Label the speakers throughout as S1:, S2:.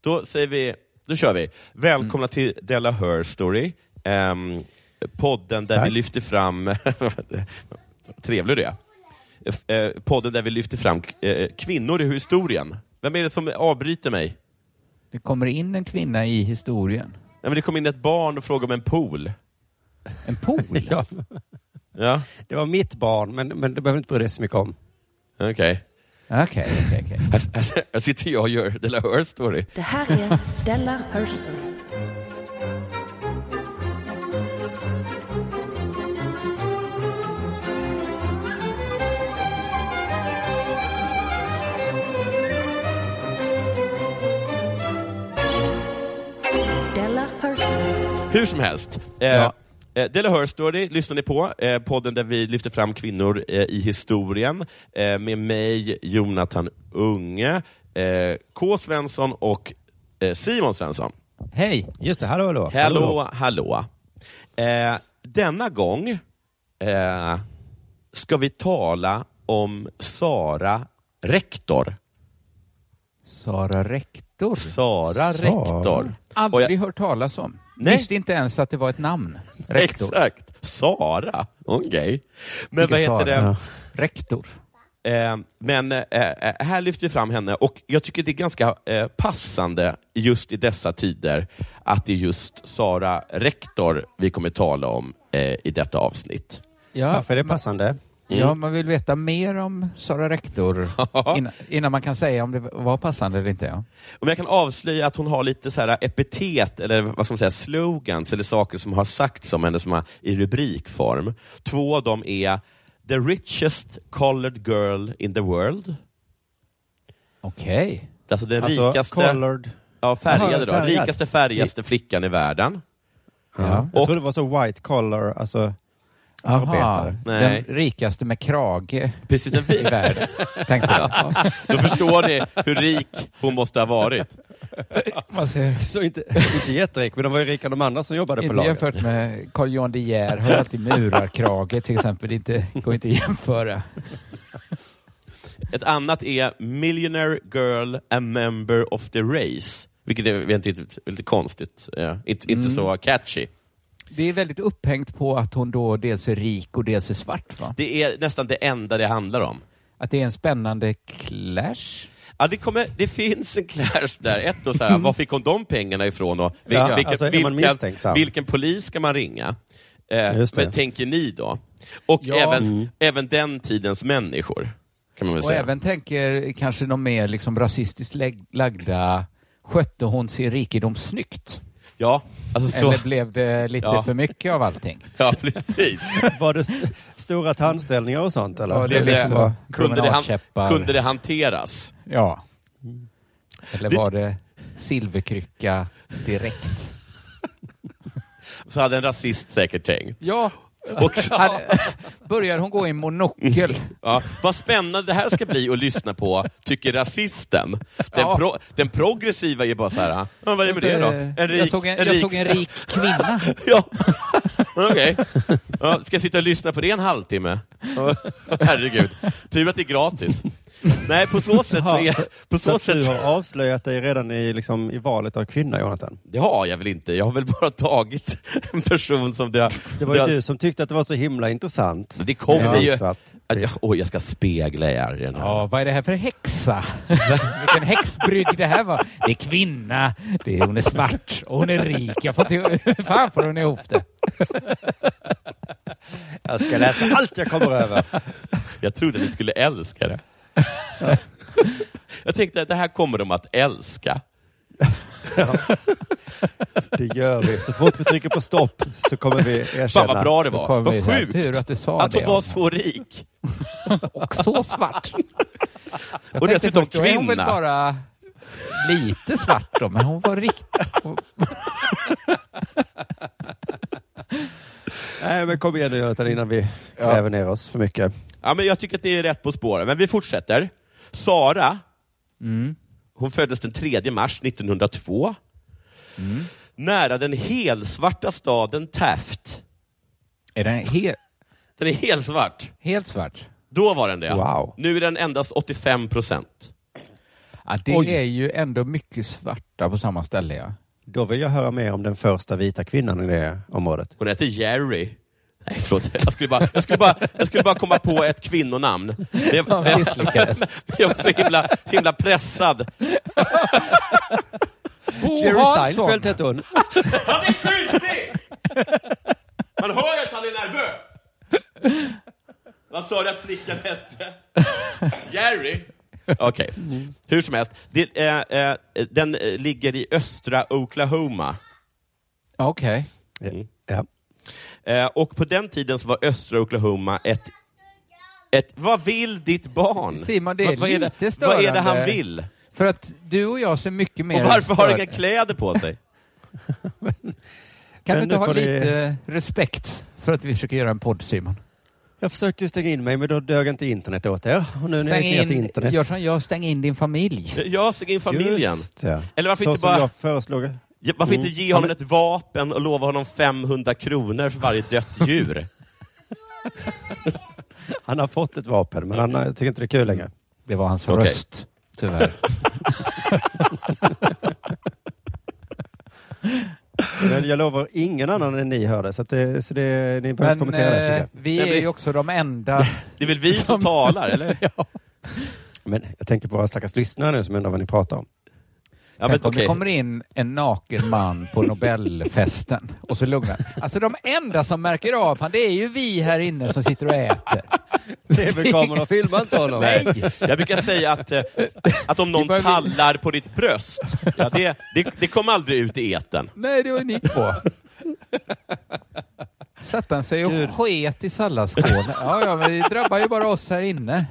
S1: Då säger vi, då kör vi. Välkomna till Della Her Story. ehm, podden där vi lyfter fram... Trevlig du är. F- eh, podden där vi lyfter fram k- eh, kvinnor i historien. Vem är det som avbryter mig?
S2: Det kommer in en kvinna i historien.
S1: Nej, men det kom in ett barn och frågade om en pool.
S2: En pool?
S3: Ja,
S1: Ja,
S3: det var mitt barn, men, men det behöver inte bry dig så mycket om.
S1: okej.
S2: Okej, okej, okej.
S1: Här, här, här sitter jag och gör Della Her Story.
S4: Det här är Della Hörstory. Della Hörstory.
S1: Hur som helst. Eh,
S3: Ja.
S1: eh, Della Her Story lyssnar ni på, eh, podden där vi lyfter fram kvinnor eh, i historien eh, med mig, Jonathan Unge, eh, K. Svensson och eh, Simon Svensson.
S2: Hej!
S3: Just det, hallå hallå.
S1: Hallå, hallå. Eh, denna gång eh, ska vi tala om Sara Rektor.
S2: Sara Rektor.
S1: Sara
S3: Sara.
S1: Rektor. Och jag-
S2: Aldrig hört talas om.
S1: Nej.
S2: Visste inte ens att det var ett namn. Rektor.
S1: Exakt. Sara. Okej. Men
S2: Vilken
S1: vad heter
S2: Sara?
S1: det?
S2: Rektor.
S1: Eh, men eh, eh, här lyfter vi fram henne och jag tycker det är ganska eh, passande just i dessa tider att det är just Sara Rektor vi kommer tala om eh, i detta avsnitt.
S2: Ja,
S3: Varför är det passande?
S2: ja, man vill veta mer om Sara Rektor innan, innan man kan säga om det var passande eller inte. Ja.
S1: Om jag kan avslöja att hon har lite så här epitet, eller vad ska man säga, slogans, eller saker som har sagts om henne som har, i rubrikform. Två av dem är The richest colored girl in the world.
S2: Okej.
S1: Alltså den
S3: Alltså,
S1: rikaste...
S3: colored.
S1: Ja,
S3: Jaha,
S1: färgade då.
S3: färgad.
S1: Rikaste, färgaste flickan i världen.
S2: Ja.
S3: Jag
S1: Och-
S3: trodde det var så white collar, alltså
S2: Aha,
S3: arbetare.
S1: Nej.
S2: Den rikaste med krage
S1: Precis, den
S2: i
S1: fi-
S2: världen, tänkte jag.
S1: Då förstår ni hur rik hon måste ha varit.
S2: Man ser,
S3: Så inte, inte jätterik, men de var ju rika de andra som jobbade på
S2: inte
S3: laget.
S2: jämfört med Carl Johan De Geer, har alltid murarkrage till exempel. Det är inte, går inte att jämföra.
S1: Ett annat är Millionaire Girl, a member of the race. Vilket är jag vet inte, lite, lite konstigt. Ja, inte,
S3: Mm.
S1: inte så catchy.
S2: Det är väldigt upphängt på att hon då dels är rik och dels är svart va?
S1: Det är nästan det enda det handlar om.
S2: Att det är en spännande clash.
S1: Ja, det, kommer, det finns en clash där. Ett då, så här, var fick hon de pengarna ifrån? Och vil,
S3: Ja,
S1: vilken,
S3: alltså, är man
S1: vilken,
S3: misstänksam?
S1: vilken polis ska man ringa? Eh,
S3: Just det.
S1: men tänker ni då? Och
S2: Ja. Mm.
S1: även, även den tidens människor, kan man väl
S2: Och
S1: säga.
S2: även tänker kanske de mer liksom rasistiskt lägg- lagda, skötte hon sin rikedom snyggt?
S1: Ja, alltså så.
S2: Eller blev det lite
S1: Ja.
S2: för mycket av allting?
S1: Ja, precis.
S3: Var det st- stora tandställningar och sånt eller?
S2: Ja, det är
S1: Blev det-
S2: liksom bara
S1: kunde, det han,
S2: promenadkäppar.
S1: kunde det hanteras?
S2: Ja. Eller var det silverkrycka direkt?
S1: Så hade en rasist säkert tänkt.
S2: Ja.
S1: Och så,
S2: Börjar hon gå i monokel?
S1: ja, vad spännande det här ska bli att lyssna på, tycker rasisten. Den,
S2: Ja.
S1: pro, den progressiva är bara så här, ja, vad är det med det då? En rik,
S2: jag såg en,
S1: en
S2: jag
S1: rik-
S2: såg en rik kvinna.
S1: Ja, okej. Ja, ska jag sitta och lyssna på det en halvtimme? Ja, Herregud. Tur att det är gratis. Nej, på så sätt så
S3: Jaha,
S1: är... På
S3: Så
S1: så
S3: att du
S2: typ.
S1: sätt,
S3: har avslöjat dig redan i, liksom, i valet av kvinna, Jonathan.
S1: det har jag väl inte. Jag har väl bara tagit en person som det...
S3: Det var ju du som tyckte att det var så himla intressant.
S1: Det kommer
S3: Ja.
S1: ju...
S3: Svart.
S1: Att jag- Oj, jag ska spegla er i den här.
S2: Ja, vad är det här för häxa? Vilken häxbrygg det här var. Det är kvinna, det är, hon är svart och hon är rik. Jag får till, fan får hon ihop det?
S3: Jag ska läsa allt jag kommer över.
S1: Jag trodde ni skulle älska det. Jag tänkte att det här kommer de att älska.
S3: Det gör vi. Så fort vi trycker på stopp så kommer vi erkänna.
S1: Fan vad bra det var.
S2: Kom
S1: Vad
S2: vi här.
S1: sjukt
S2: Tur att du sa
S1: att hon
S2: det.
S1: var så rik.
S2: Och så svart. Jag
S1: Och
S2: tänkte
S1: dessutom
S2: först, då är Hon väl
S1: kvinna.
S2: bara lite svart då, men hon var riktigt...
S3: Nej, men kom igen nu Jonathan innan vi gräver ner oss för mycket.
S1: Ja, men jag tycker att ni är rätt på spåren, men vi fortsätter. Sara,
S2: Mm.
S1: hon föddes den 3 mars 1902.
S2: Mm.
S1: Nära den helsvarta staden Taft.
S2: Är den he,
S1: Den är helsvart.
S2: helt svart?
S1: Då var den det.
S3: Wow.
S1: Nu är den endast 85 procent.
S2: Ja, det
S3: Oj.
S2: är ju ändå mycket svarta på samma ställe. Ja.
S3: Då vill jag höra mer om den första vita kvinnan i det området.
S1: Hon heter Jerry. Nej, förlåt. Jag skulle bara, jag skulle bara, jag skulle bara komma på ett kvinnonamn. Men jag,
S2: Ja,
S1: men
S2: misslyckades.
S1: jag- jag var så himla, himla pressad.
S2: Bo
S3: Jerry
S2: Hansson.
S3: Seinfeld hette hon.
S1: Han är skyldig! Man hör ju att han är nervös. Vad sa du att flickan hette? Jerry? Okej, hur som helst. Det, eh, eh, den eh, ligger i östra Oklahoma.
S2: Okej.
S1: Mm.
S3: Ja.
S1: Eh, och på den tiden så var östra Oklahoma ett... ett vad vill ditt barn?
S2: Simon, det är
S1: vad, vad
S2: lite
S1: det, Vad är det
S2: störande.
S1: han vill?
S2: För att du och jag ser mycket mer...
S1: Och varför har han
S2: större-
S1: inga kläder på sig?
S2: Kan
S3: Men
S2: du inte
S3: nu
S2: ha
S3: får ni-
S2: lite eh, respekt för att vi försöker göra en podd, Simon?
S3: Jag försökte ju stänga in mig, men då dög inte internet åt er. Och nu när jag gick ner till
S2: in,
S3: internet.
S2: gör som jag, stäng in din familj.
S1: Jag ser in familjen.
S3: Just det.
S1: Eller varför
S3: så
S1: inte
S3: som
S1: bara-
S3: jag föreslog.
S1: Ja, Varför inte ge honom ett vapen och lova honom 500 kronor för varje dött djur?
S3: Han har fått ett vapen, men han har- tycker inte det är kul längre.
S2: Det var hans
S1: Okej.
S2: röst, tyvärr.
S3: Men jag lovar, ingen annan än ni hör det, så, att det, så det, ni behöver inte
S2: Men
S3: kommentera det så
S2: eh,
S3: mycket.
S2: vi
S1: Men
S2: är
S1: vi-
S2: ju också de enda...
S1: Det är väl vi som,
S2: Som-
S1: talar, eller?
S2: ja.
S3: Men jag tänker på våra stackars lyssnare nu som undrar vad ni pratar om.
S1: Ja, men
S2: Tänk om det
S1: okej.
S2: kommer in en naken man på Nobelfesten och så lugnar Alltså de enda som märker av han, det är ju vi här inne som sitter och äter.
S3: TV-kamerorna filmar inte honom.
S1: Nej. Jag brukar säga att, eh, att om någon
S2: börjar bli-
S1: tallar på ditt bröst, ja, det, det, det kommer aldrig ut i etern.
S2: Nej, det var ni två. Satt han sig och sket i salladsskålen? Ja, ja, men det drabbar ju bara oss här inne.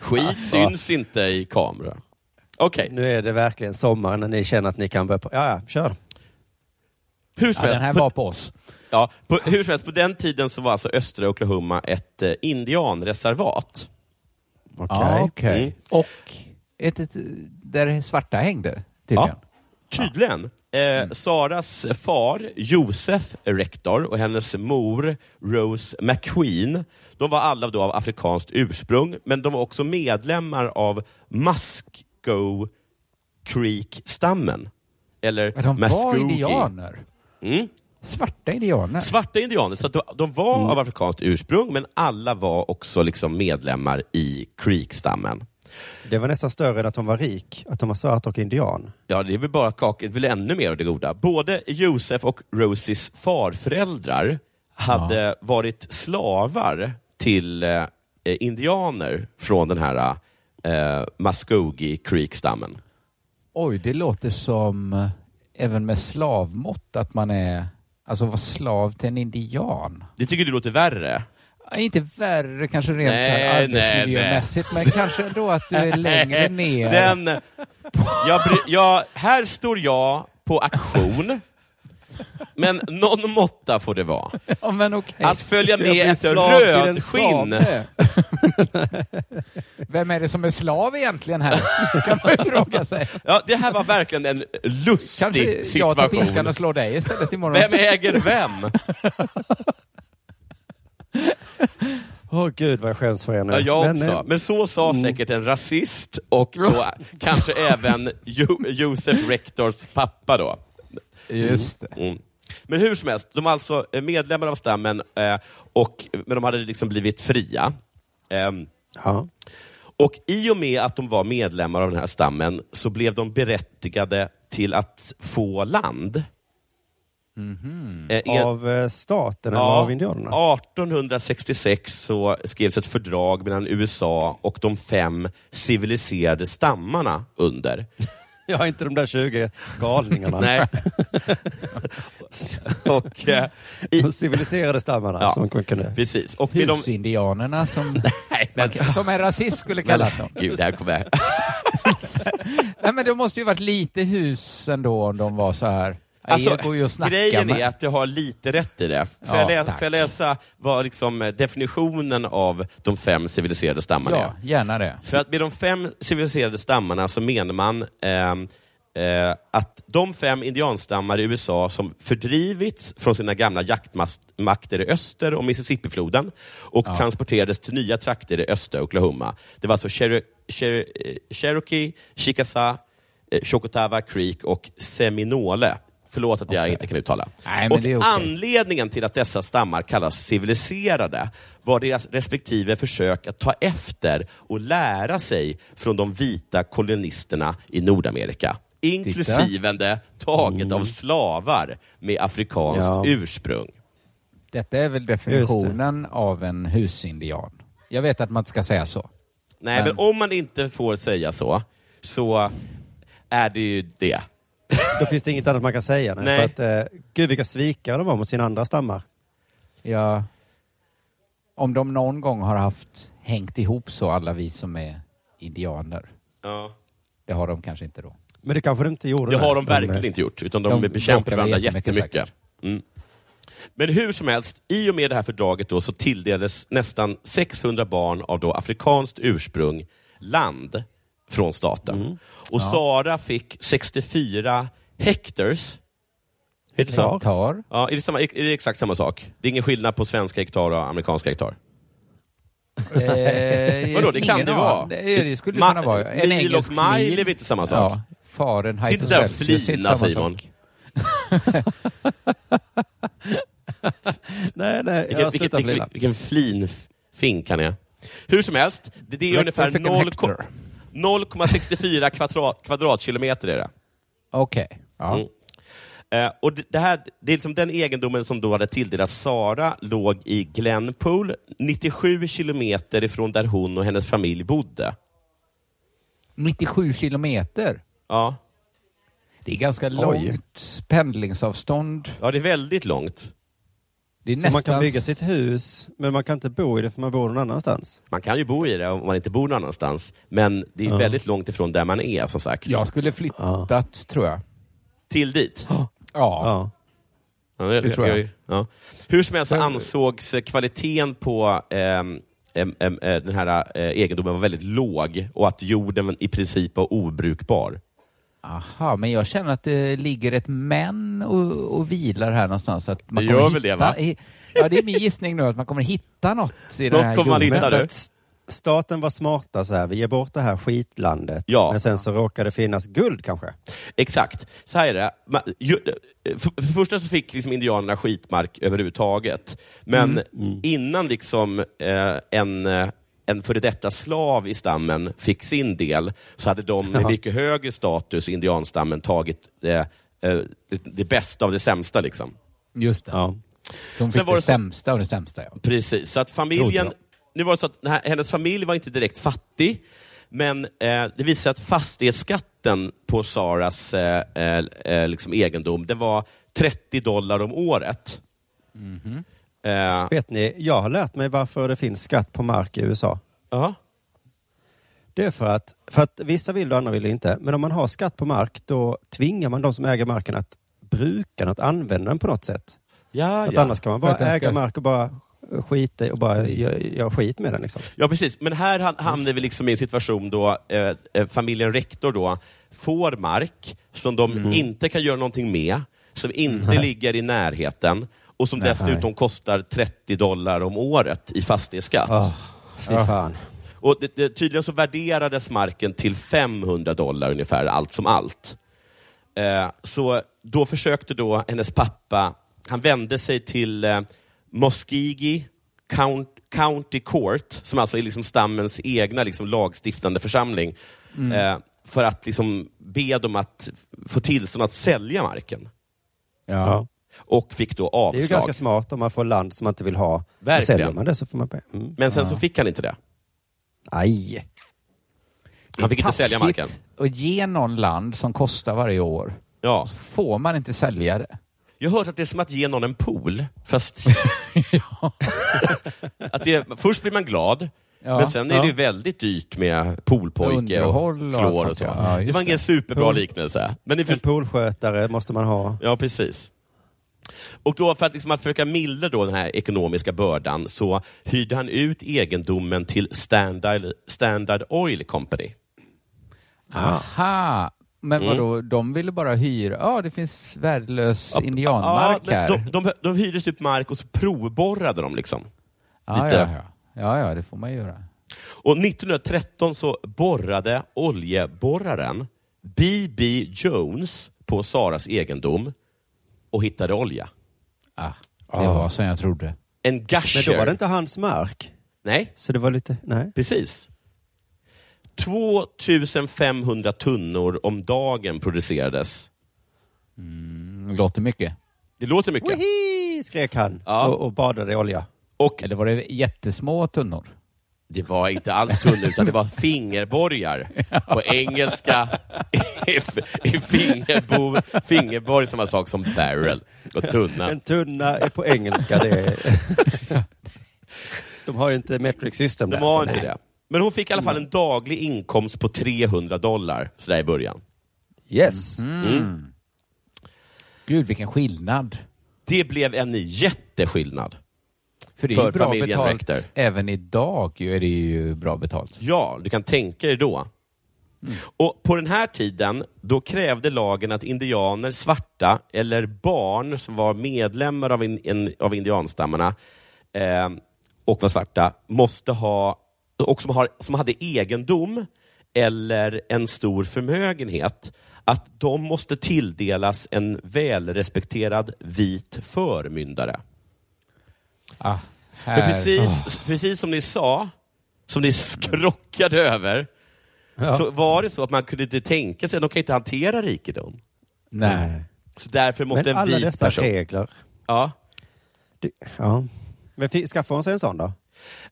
S1: Skit syns inte i kameran. Okej,
S3: Nu är det verkligen sommar när ni känner att ni kan börja på. Ja, ja, kör.
S1: hur som
S2: Ja,
S1: helst.
S2: den här
S1: på,
S2: var på oss.
S1: ja, på, hur som helst, på den tiden så var alltså östra Oklahoma ett eh, indianreservat.
S3: Okej.
S2: Ja, okej.
S1: Mm.
S2: Och ett, ett, där svarta hängde, tydligen. Mm.
S1: Tydligen. Eh, Saras far, Josef Rektor, och hennes mor, Rose McQueen, de var alla då av afrikanskt ursprung, men de var också medlemmar av Musco Creek-stammen. Eller
S2: Men de var
S1: Muskogee.
S2: indianer.
S1: Mm.
S2: Svarta indianer.
S1: Svarta indianer, så att de, de var
S2: Mm.
S1: av afrikanskt ursprung, men alla var också liksom medlemmar i Creek-stammen.
S3: Det var nästan större än att hon var rik, att hon var svart och indian.
S1: Ja, det är väl bara kaka, det är väl ännu mer av det goda. Både Josef och Rosies farföräldrar hade varit slavar till eh, eh, indianer från den här eh, Muskogee Creek-stammen.
S2: Oj, det låter som eh, även med slavmått att man är, alltså vara slav till en indian.
S1: Det tycker du låter värre?
S2: Ja, Inte värre kanske rent
S1: Nej,
S2: så här
S1: nej,
S2: arbetsmiljömässigt, men kanske ändå att du är längre ner.
S1: Den, jag bry, jag, här står jag på aktion, men någon måtta får det vara.
S2: Ja, men okej.
S1: Att följa med ett
S3: slav till en
S1: röd skinn.
S3: same.
S2: Vem är det som är slav egentligen här? kan man ju fråga sig.
S1: Ja, det här var verkligen en lustig
S2: Kanske jag tar piskan
S1: situation.
S2: och slår dig istället imorgon.
S1: Vem äger vem?
S3: Åh gud vad jag skäms för er nu.
S1: Ja, jag
S3: Men,
S1: också.
S3: eh,
S1: Men så sa säkert en rasist och då kanske även jo Josef Rektors pappa då.
S2: Just det.
S1: Mm. Men hur som helst, de var alltså eh, medlemmar av stammen, eh, och, men de hade liksom blivit fria. Ehm,
S3: ja.
S1: och i och med att de var medlemmar av den här stammen så blev de berättigade till att få land. Eh, en-
S3: Av eh, staten eller
S1: Ja,
S3: av indianerna?
S1: 1866 så skrevs ett fördrag mellan USA och de fem civiliserade stammarna under.
S3: Ja, inte de där 20 galningarna.
S1: Nej. och, eh, i,
S3: De civiliserade stammarna
S1: Ja.
S3: som kunde...
S1: precis. Och med de,
S2: Husindianerna som,
S1: nej, men,
S2: som en rasist skulle kalla dem.
S1: gud, det här kommer jag...
S2: Nej, men det måste ju varit lite hus ändå om de var så här. Ja,
S1: Alltså,
S2: er går ju att snacka
S1: grejen
S2: med.
S1: är att jag har lite rätt i det. Får,
S2: Ja,
S1: jag, läsa,
S2: tack.
S1: får jag läsa vad liksom eh, definitionen av de fem civiliserade stammarna är?
S2: Ja, gärna det.
S1: För att med de fem civiliserade stammarna så menar man ehm, eh, att de fem indianstammar i USA som fördrivits från sina gamla jaktmakter i öster och Mississippifloden och transporterades till nya trakter i östra Oklahoma. Det var alltså Chero- Cher- eh, Cherokee, Chickasaw, eh, Chocotava Creek och Seminole. Förlåt att jag inte kan uttala.
S2: Nej, men
S1: och
S2: det är okej.
S1: Anledningen till att dessa stammar kallas civiliserade var deras respektive försök att ta efter och lära sig från de vita kolonisterna i Nordamerika. Inklusive taget av slavar med afrikanskt
S3: Ja.
S1: ursprung.
S2: Detta är väl definitionen av en husindian. Jag vet att man inte ska säga så.
S1: Nej, men, om man inte får säga så, så är det ju det.
S3: Då finns det inget annat man kan säga. Nej.
S1: Nej.
S3: För att, eh, gud vilka svikare de var mot sina andra stammar.
S2: Ja. Om de någon gång har haft hängt ihop så, alla vi som är indianer.
S1: Ja.
S2: Det har de kanske inte då.
S3: Men det kanske de inte gjorde. eh,
S1: Det har de
S3: nej.
S1: verkligen inte gjort, utan de,
S2: de
S1: bekämpar
S2: bråkar
S1: varandra
S2: jättemycket
S1: jättemycket.
S2: säkert.
S1: Mm. Men hur som helst, i och med det här fördraget då, så tilldelades nästan 600 barn av då afrikanskt ursprung land från staten. Och Sara fick 64 hectares. Heter det så?
S2: Tar.
S1: Ja, är, det samma, är det exakt samma sak? Det är ingen skillnad på svenska hektar och amerikanska hektar?
S2: Eh,
S1: Vadå, det kan
S2: ingen
S1: det
S2: aning.
S1: vara.
S2: Det, det skulle
S1: Ma-
S2: kunna vara. En
S1: mil och
S2: engelsk
S1: mile
S2: mil.
S1: är väl inte samma sak?
S2: Ja, faren
S1: Sitt
S2: Heitus
S1: där och
S2: Celsius är
S1: flina,
S2: inte samma
S1: Simon.
S2: sak.
S3: Nej, nej. Jag
S1: Vilken, vilken, vilken,
S3: slutar flina.
S1: vilken flin fink han är. Hur som helst, det, det är
S2: Vector
S1: ungefär
S2: fick en
S1: 0 ko-
S2: hector.
S1: 0,64 kvadrat, kvadratkilometer. Är det.
S2: Okej. Ja.
S1: Mm. Eh, och det, det, här, det är liksom den egendomen som då hade tilldelats Sara låg i Glenpool, 97 kilometer ifrån där hon och hennes familj bodde.
S2: 97 kilometer.
S1: Ja,
S2: Det är ganska långt pendlingsavstånd.
S1: ja det är väldigt långt.
S2: Det är
S3: Så
S2: nästan...
S3: man kan bygga sitt hus, men man kan inte bo i det för man bor någon annanstans.
S1: Man kan ju bo i det om man inte bor någon annanstans, men det är väldigt långt ifrån där man är, som sagt.
S2: Jag skulle flyttat, tror jag.
S1: Till dit.
S2: Ja.
S3: Ja.
S1: Ja, det,
S2: Det tror jag.
S1: Ja. Hur som helst så ansågs eh, kvaliteten på ehm, em, em, eh, den här eh, egendomen var väldigt låg och att jorden i princip var obrukbar.
S2: Aha, men jag känner att det ligger ett men och, och vilar här någonstans. Att man
S1: Det
S2: kommer
S1: gör väl det,
S2: hitta,
S1: va?
S2: i- Ja, det är min gissning nu att man kommer hitta något i den
S1: Något
S2: här
S1: kommer man
S2: jorden.
S1: hitta.
S3: Men så
S1: du?
S3: att s- staten var smarta så här, vi ger bort det här skitlandet.
S1: Ja.
S3: Men sen så råkar det finnas guld kanske.
S1: Exakt. Så här är det. Man, ju, eh, för, för det första så fick liksom indianerna skitmark överhuvudtaget. Men innan liksom eh, en, eh, en före detta slav i stammen fick sin del, så hade de med mycket högre status, indianstammen, tagit eh, eh, det, det bästa av det sämsta. Liksom.
S2: Just det.
S3: Ja.
S2: De
S1: Sen
S2: fick
S1: var
S2: det,
S1: det så-
S2: sämsta av det sämsta, ja.
S1: Precis, så att
S3: Trodde
S1: familjen...
S3: jag.
S1: Nu var det så att den här, hennes familj var inte direkt fattig, men eh, det visade sig att fastighetsskatten på Saras eh, eh, eh, liksom egendom, det var 30 dollar om året. Eh,
S3: Vet ni, jag har lärt mig varför det finns skatt på mark i USA.
S1: ja.
S3: Det är för att, för att vissa vill och andra vill inte. Men om man har skatt på mark, då tvingar man de som äger marken att bruka den, att använda den på något sätt.
S1: Ja,
S3: För att
S1: ja.
S3: annars kan man
S2: För
S3: bara
S2: att den
S3: äga
S2: ska-
S3: mark och bara skita i och bara göra gör skit med den. Liksom.
S1: ja, precis. Men här ham- hamnar vi liksom i en situation då eh, eh, familjen Rektor då får mark som de inte kan göra någonting med, som inte ligger i närheten och som dessutom kostar 30 dollar om året i fastighetsskatt.
S3: Ah, fy fan.
S1: Och det, det, tydligen så värderades marken till 500 dollar ungefär, allt som allt. Eh, så då försökte då hennes pappa, han vände sig till eh, Muskegee Count, County Court, som alltså är liksom stammens egna liksom, lagstiftande församling,
S3: Mm.
S1: eh, för att liksom, be dem att f- få tillstånd att sälja marken.
S2: ja.
S3: Ja.
S1: Och fick då avslag.
S3: Det är ju ganska smart om man får land som man inte vill ha.
S1: Verkligen.
S3: Verkligen. Säljer man det så får man pengar. Mm.
S1: Men sen så fick han inte det.
S3: Aj.
S1: Han fick inte sälja marken.
S2: och ge någon land som kostar varje år.
S1: Ja.
S2: Får man inte sälja det?
S1: Jag har hört att det är som att ge någon en pool. Fast...
S2: Ja.
S1: att det, först blir man glad,
S2: Ja.
S1: men sen är det ju
S2: Ja.
S1: väldigt dyrt med poolpojke och
S2: Underhåll och
S1: klor
S2: allt
S1: och så.
S2: sånt, ja. Ja,
S1: det
S2: just
S1: var ingen superbra
S3: Pool.
S1: liknelse. Men ni
S3: En
S1: för...
S3: poolskötare måste man ha.
S1: Ja, precis. Och då för att, liksom, att försöka mildra då den här ekonomiska bördan så hyrde han ut egendomen till Standard, Standard Oil Company.
S2: Aha! Men
S1: Ah. Mm.
S2: vadå, de ville bara hyra? Ja, det finns värdelös
S1: Ja,
S2: indianmark
S1: ja, men
S2: här.
S1: De, de, de hyrde typ mark och så provborrade de. liksom.
S2: ja,
S1: lite.
S2: ja, ja. ja, ja, det får man göra.
S1: Och 1913 så borrade oljeborraren B.B. Jones på Saras egendom och hittade olja.
S2: Ah, det var som jag trodde.
S1: En
S3: Men
S1: gasher.
S3: då var det inte hans mark.
S1: Nej,
S3: Så det var lite, nej.
S1: precis. 2500 tunnor om dagen producerades.
S2: Mm, Låter mycket.
S1: Det låter mycket.
S3: Wihi! skrek han
S1: Ja.
S3: och, och badade i olja.
S1: Och
S2: Eller var det jättesmå tunnor?
S1: det var inte alls tunnor, utan det var fingerborgar. På engelska är fingerbo, fingerborg samma sak som barrel och tunna.
S3: En tunna är på engelska. Det är... De har ju inte metric system
S1: De
S3: där.
S1: har inte det. Men hon fick i alla fall en daglig inkomst på 300 dollar sådär i början.
S3: Yes.
S1: Mm.
S2: Gud, vilken skillnad.
S1: Det blev en jätteskillnad.
S2: För det är
S1: För
S2: ju bra
S1: familjen
S2: betalt.
S1: Rector.
S2: Även idag ju är det ju bra betalt.
S1: Ja, du kan tänka dig då. Och På den här tiden då krävde lagen att indianer, svarta eller barn som var medlemmar av, in, en, av indianstammarna eh, och var svarta, måste ha, och som, har, som hade egendom eller en stor förmögenhet, att de måste tilldelas en välrespekterad vit förmyndare.
S2: Ah,
S1: För
S2: här.
S1: precis, precis som ni sa, som ni skrockade över, så var det så att man kunde inte tänka sig, att de kan inte hantera rikedom.
S2: Nej.
S1: Så därför måste
S3: Men
S1: en
S3: alla
S1: vit
S3: dessa
S1: person...
S3: regler.
S1: Ja.
S3: Det, ja. Men fi- skaffade hon sig en sån då?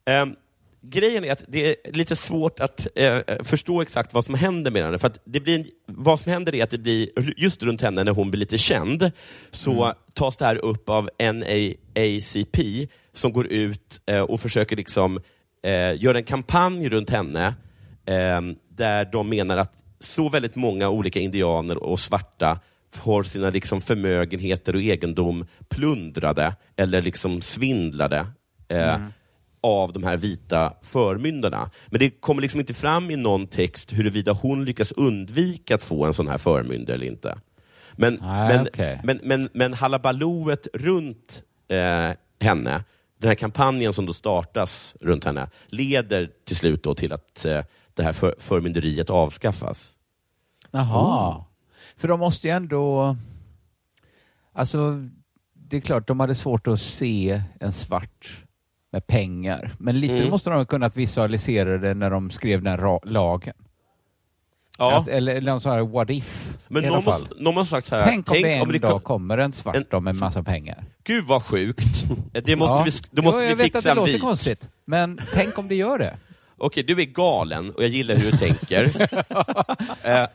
S1: Ehm, grejen är att det är lite svårt att eh, förstå exakt vad som händer med henne. För att det blir, en- vad som händer är att det blir, just runt henne när hon blir lite känd, så tas det här upp av NAACP som går ut eh, och försöker liksom eh, göra en kampanj runt henne ehm, där de menar att så väldigt många olika indianer och svarta får sina liksom förmögenheter och egendom plundrade eller liksom svindlade. Eh, av de här vita förmyndarna. Men det kommer liksom inte fram i någon text huruvida hon lyckas undvika att få en sån här förmyndare eller inte. Men,
S2: Ah,
S1: men,
S2: okej.
S1: men, men, men halabaloet runt eh, henne, den här kampanjen som då startas runt henne, leder till slut då till att eh, det här för, förmynderiet avskaffas.
S2: Jaha.
S1: Oh.
S2: För de måste ju ändå... Alltså, det är klart, de hade svårt att se en svart med pengar. Men lite
S1: Mm.
S2: måste de ha kunnat visualisera det när de skrev den här ra- lagen. Att, eller, eller någon sån här what if.
S1: Men
S2: i alla
S1: någon
S2: fall.
S1: måste, någon måste ha sagt så här,
S2: Tänk om det en dag
S1: kom-
S2: kommer en svart
S1: en-
S2: då med massa pengar.
S1: Gud vad sjukt. Det måste
S2: Ja.
S1: vi, det måste
S2: Jo,
S1: vi
S2: jag vet att
S1: fixa
S2: det
S1: en
S2: låter
S1: vit.
S2: konstigt, men tänk om det gör det.
S1: Okej, du är galen och jag gillar hur du tänker. Eh,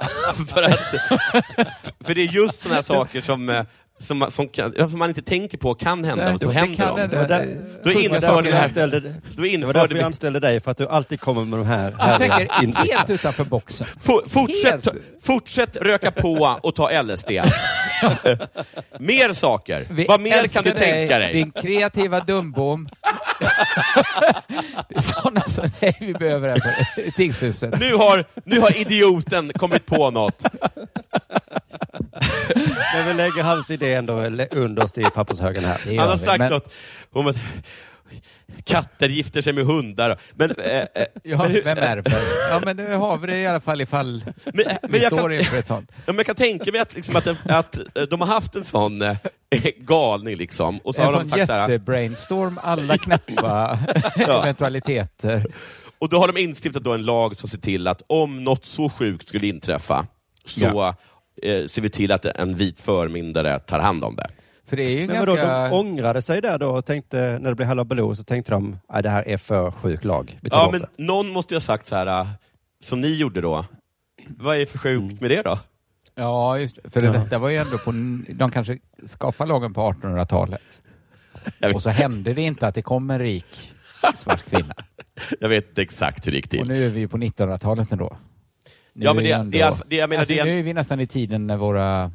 S1: för, att, för det är just sådana här saker som, eh, som, som, kan, som man inte tänker på kan hända, och så
S2: Det
S1: händer
S2: kan
S1: de.
S2: hända.
S3: var där-
S2: Eh,
S1: Då
S2: sjuka
S3: Det var
S1: införde
S2: saker
S3: därför jag
S1: här-
S2: händer.
S3: anställde,
S1: Då
S3: det var därför
S1: införde
S3: jag
S1: vi...
S3: anställde dig, för att du alltid kommer med de här
S2: Han
S3: härliga
S2: tänker
S3: insikterna.
S2: helt utanför boxen.
S1: Fo- Fortsätt,
S2: Helt.
S1: fortsätt röka på och ta LSD. Eh, mer saker.
S2: Vi
S1: Vad mer kan
S2: älskar
S1: du tänka dig?
S2: Din kreativa dumbom. Det är sådana som dig vi behöver här på tingshuset.
S1: Nu, har, nu har idioten kommit på något.
S3: Men vi lägger hans idé ändå le- underst i pappershögen här.
S2: Det gör
S1: Han har
S2: vi,
S1: sagt
S2: men-
S1: något om att katter gifter sig med hundar. Men, eh, eh,
S2: Ja,
S1: men, hur-
S2: vem är det för? Ja, men nu har vi det i alla fall ifall
S1: Men,
S2: vi
S1: men, jag
S2: står
S1: kan, ja,
S2: inför ett sånt.
S1: men jag kan tänka mig att, liksom, att, att eh, de har haft en sån eh, galning liksom, och så
S2: En
S1: har de
S2: sån
S1: sagt så här,
S2: jättebrainstorm, alla knäppa eventualiteter.
S1: och då har de instiftat då en lag som ser till att om något så sjukt skulle inträffa så
S2: Ja.
S1: eh, ser vi till att en vit förmyndare tar hand om det.
S2: För det är ju
S3: Men vadå,
S2: ganska...
S3: de ångrade sig där då och tänkte, när det blev halabaloo så tänkte de, nej det här är för sjuk lag. Vi tar
S1: Ja,
S3: bort
S1: men
S3: det.
S1: någon måste ju ha sagt så här, eh, som ni gjorde då, vad är det för
S3: Mm.
S1: sjukt med det då?
S2: Ja, just det. För detta var ju ändå på... De kanske skapade lagen på 1800-talet.
S1: Jag vet,
S2: Och så hände det inte att det kom en rik svart kvinna.
S1: jag vet inte exakt hur det gick
S2: Och
S1: till.
S2: nu är vi ju på 1900-talet ändå. Nu
S1: Ja, men
S2: är
S1: det-
S2: ju ändå-
S1: det är- det- jag menar,
S2: alltså,
S1: det är-
S2: Nu är vi nästan i tiden när våra...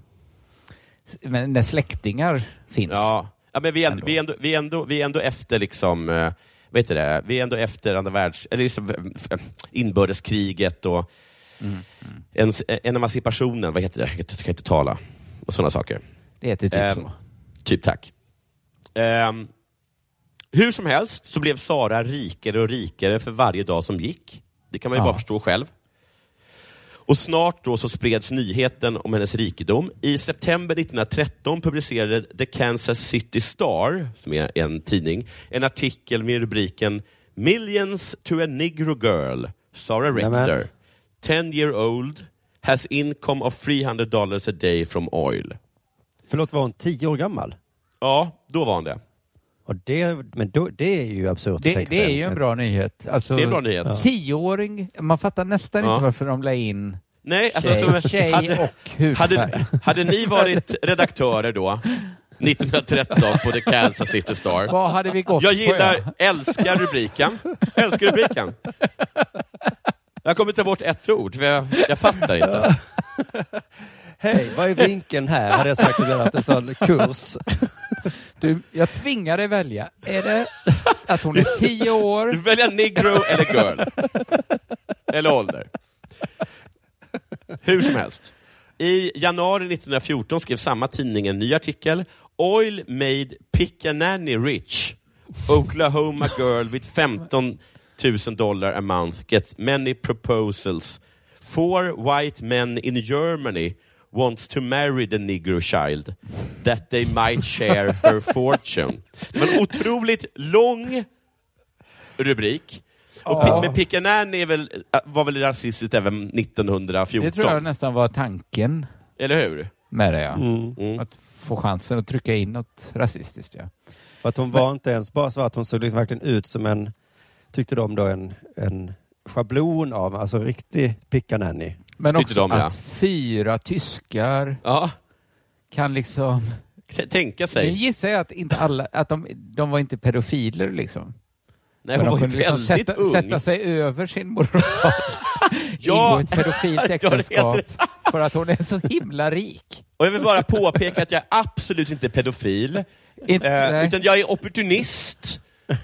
S2: men När släktingar finns.
S1: Ja, ja men vi är,
S2: Ändå.
S1: Vi, är ändå, vi, är ändå, vi är ändå efter liksom, eh, vet du det, vi är ändå efter andra världs, eller liksom, eh, inbördeskriget och
S2: Mm,
S1: En, en emancipationen, vad heter det? Jag kan inte tala. Och sådana saker.
S2: Det heter typ
S1: Ehm,
S2: så.
S1: Typ tack. Ehm, hur som helst så blev Sara rikare och rikare för varje dag som gick. Det kan man ju
S2: Ja.
S1: bara förstå själv. Och snart då så spreds nyheten om hennes rikedom. I september 1913 publicerade The Kansas City Star, som är en tidning, en artikel med rubriken Millions to a Negro Girl, Sara Rector, 10 year old, has income of 300 dollars a day from oil.
S3: Förlåt, var hon tio år gammal?
S1: Ja, då var hon det.
S3: Och det, men då, det är ju absurt att
S2: Det,
S3: tänka
S2: det är ju en bra nyhet. Alltså,
S1: Det är en bra nyhet.
S2: Tioåring, man fattar nästan
S1: Ja.
S2: inte varför de la in
S1: Nej, alltså,
S2: Tjej-
S1: som-
S2: tjej och hudfärg.
S1: hade, hade ni varit redaktörer då, 1913 på The Kansas City Star?
S2: Vad hade vi gått
S1: Jag
S2: på? ja?
S1: gillar, älskar rubriken. Älskar rubriken. Jag kommer ta bort ett ord, för jag, jag fattar inte.
S3: Hej, vad är vinkeln här? Hade jag sagt om jag hade haft en sån kurs.
S2: Du, jag tvingar dig välja. Är det att hon är tio år?
S1: Du väljer negro eller girl. Eller ålder. Hur som helst. I januari 1914 skrev samma tidning en ny artikel. Oil made Piccanani rich. Oklahoma girl with 15 000 dollar a month gets many proposals. Four white men in Germany wants to marry the negro child that they might share her fortune. Det var en otroligt lång rubrik. Och
S2: Ja.
S1: Pi- Men Piccanani är väl, äh, var väl rasistiskt även 1914?
S2: Det tror jag nästan var tanken
S1: Eller hur?
S2: med det. Ja.
S1: Mm.
S2: Att få chansen att trycka in något rasistiskt. Ja.
S3: För att hon var inte ens bara svart, hon såg liksom verkligen ut som en, tyckte de då, en, en schablon av, alltså riktig pickananny.
S2: Men
S1: Tyckte
S2: också
S1: de, ja.
S2: att fyra tyskar
S1: Ja,
S2: kan liksom...
S1: t- tänka
S2: Nu
S1: sig.
S2: gissar jag att, inte alla, att de, de var inte pedofiler liksom.
S1: Nej, hon
S2: de
S1: var ju
S2: kunde liksom
S1: väldigt
S2: sätta,
S1: ung.
S2: sätta sig över sin moral.
S1: Ja.
S2: Ingå i ett pedofilt
S1: Du har helt
S2: äktenskap för att hon är så himla rik.
S1: Och jag vill bara påpeka att jag är absolut inte pedofil,
S2: Inte-
S1: eh,
S2: nej.
S1: utan jag är opportunist.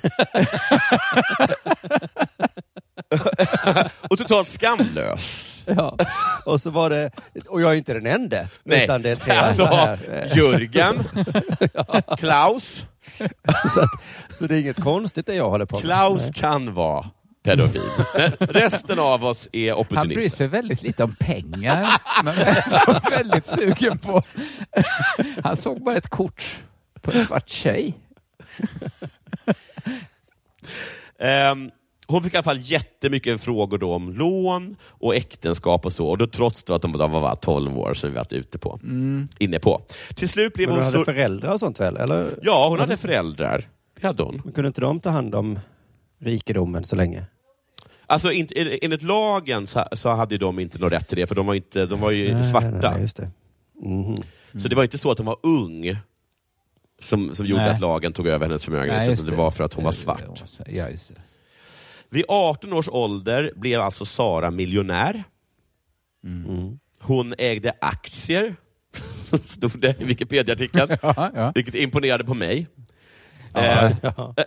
S1: och totalt skamlös.
S3: Ja. Och så var det, och jag är inte den enda.
S1: Nej,
S3: Utan det är tre
S1: alltså
S3: andra här. Eh,
S1: Jörgen, Klaus.
S3: Så, att, så det är inget konstigt det jag håller på med.
S1: Klaus kan vara pedofil, men resten av oss är
S2: Han bryr
S1: opportunister.
S2: sig väldigt lite om pengar, men är väldigt sugen på... Han såg bara ett kort på en svart tjej.
S1: Ehm, hon fick i alla fall jättemycket frågor då om lån och äktenskap och så. Och då trots då att de, de var bara 12 år som vi varit ute på. Inne på. Till slut blev
S3: Mm. Men
S1: hon
S3: hon
S1: så...
S3: hade föräldrar Mm. och sånt väl? Eller?
S1: Ja, hon hade föräldrar. Det hade hon.
S3: Men Kunde inte de ta hand om rikedomen så länge?
S1: Alltså inte- en- enligt lagen så, så hade de inte någon rätt till det, för de var, inte, de var ju
S3: Nej,
S1: svarta.
S3: nej, nej, just det. Mhm.
S1: Så det var inte så att hon var ung som, som gjorde
S2: Nej.
S1: att lagen tog över hennes förmögenhet,
S2: just
S1: utan det var för att hon var svart.
S2: Ja, just det.
S1: Vid 18 års ålder blev alltså Sara miljonär. Mm. Hon ägde aktier, stod det i Wikipedia-artikeln,
S2: Ja, ja.
S1: vilket imponerade på mig.
S3: Ja,
S1: Eh,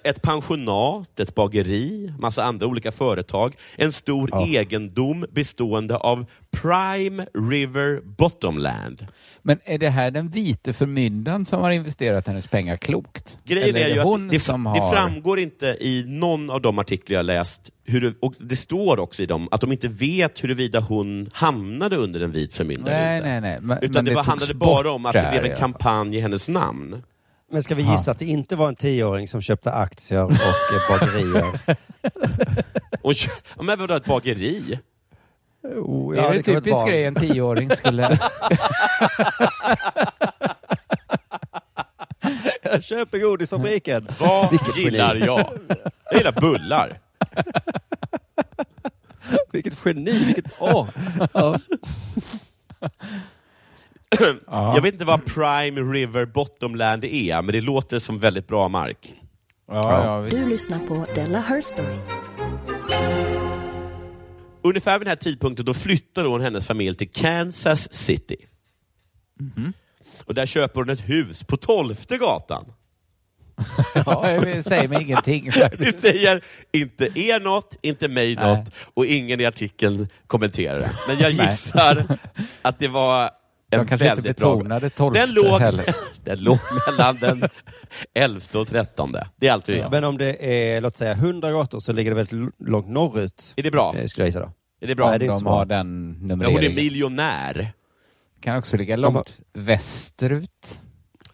S1: Ett pensionat, ett bageri, massa andra olika företag. En stor
S3: Ja.
S1: egendom bestående av Prime River Bottomland.
S2: Men är det här den vite förmyndaren som har investerat hennes pengar klokt?
S1: Grejen
S2: Eller
S1: är ju
S2: hon
S1: att det,
S2: som
S1: det
S2: har...
S1: framgår inte i någon av de artiklar jag läst, hur det, och det står också i dem, att de inte vet huruvida hon hamnade under en vit förmyndare eller
S2: Nej,
S1: inte.
S2: nej, nej. Men,
S1: Utan
S2: men
S1: det, bara
S2: togs
S1: handlade
S2: bort
S1: bara om att
S2: där,
S1: det blev
S2: ja.
S1: en kampanj i hennes namn.
S3: Men ska vi gissa att det inte var en tioåring som köpte aktier och eh, bagerier?
S1: Och, ja, men vadå, ett bageri?
S3: Oh,
S2: Det är väl
S3: kan vara ett
S2: typisk
S3: barn.
S2: grej en tioåring skulle...
S3: Jag köper godisfabriken.
S1: Vad
S3: Vilket geni.
S1: gillar jag? Jag gillar bullar.
S3: Vilket geni, vilket... Åh! Ja.
S2: Ja.
S1: Jag vet inte vad Prime River Bottomland är, men det låter som väldigt bra mark.
S2: Ja, ja, visst.
S4: Du lyssnar på Della Her Story.
S1: Ungefär vid den här tidpunkten då flyttar hon hennes familj till Kansas City.
S2: Mhm.
S1: Och där köper hon ett hus på Tolfte gatan.
S2: Ja, det säger mig ingenting.
S1: Vi säger inte er något, inte mig
S2: Nej.
S1: något och ingen i artikeln kommenterar det. Men jag gissar att det var en
S2: De kanske inte
S1: väldigt bra...
S2: betonade tolfte
S1: Den låg,
S2: heller.
S1: den låg mellan den elfte och trettonde. Det är allt vi vet.
S3: Men om det är, låt säga, 100 gator så ligger det väldigt l- långt norrut.
S1: Är det bra?
S3: Eh, Skulle jag gissa då.
S1: Är det bra?
S3: Nej, det är inte
S2: De
S3: så
S2: har
S3: bra.
S2: den
S1: Ja, hon är
S2: numreringen.
S1: miljonär.
S2: Kan också ligga
S3: De har-
S2: långt västerut.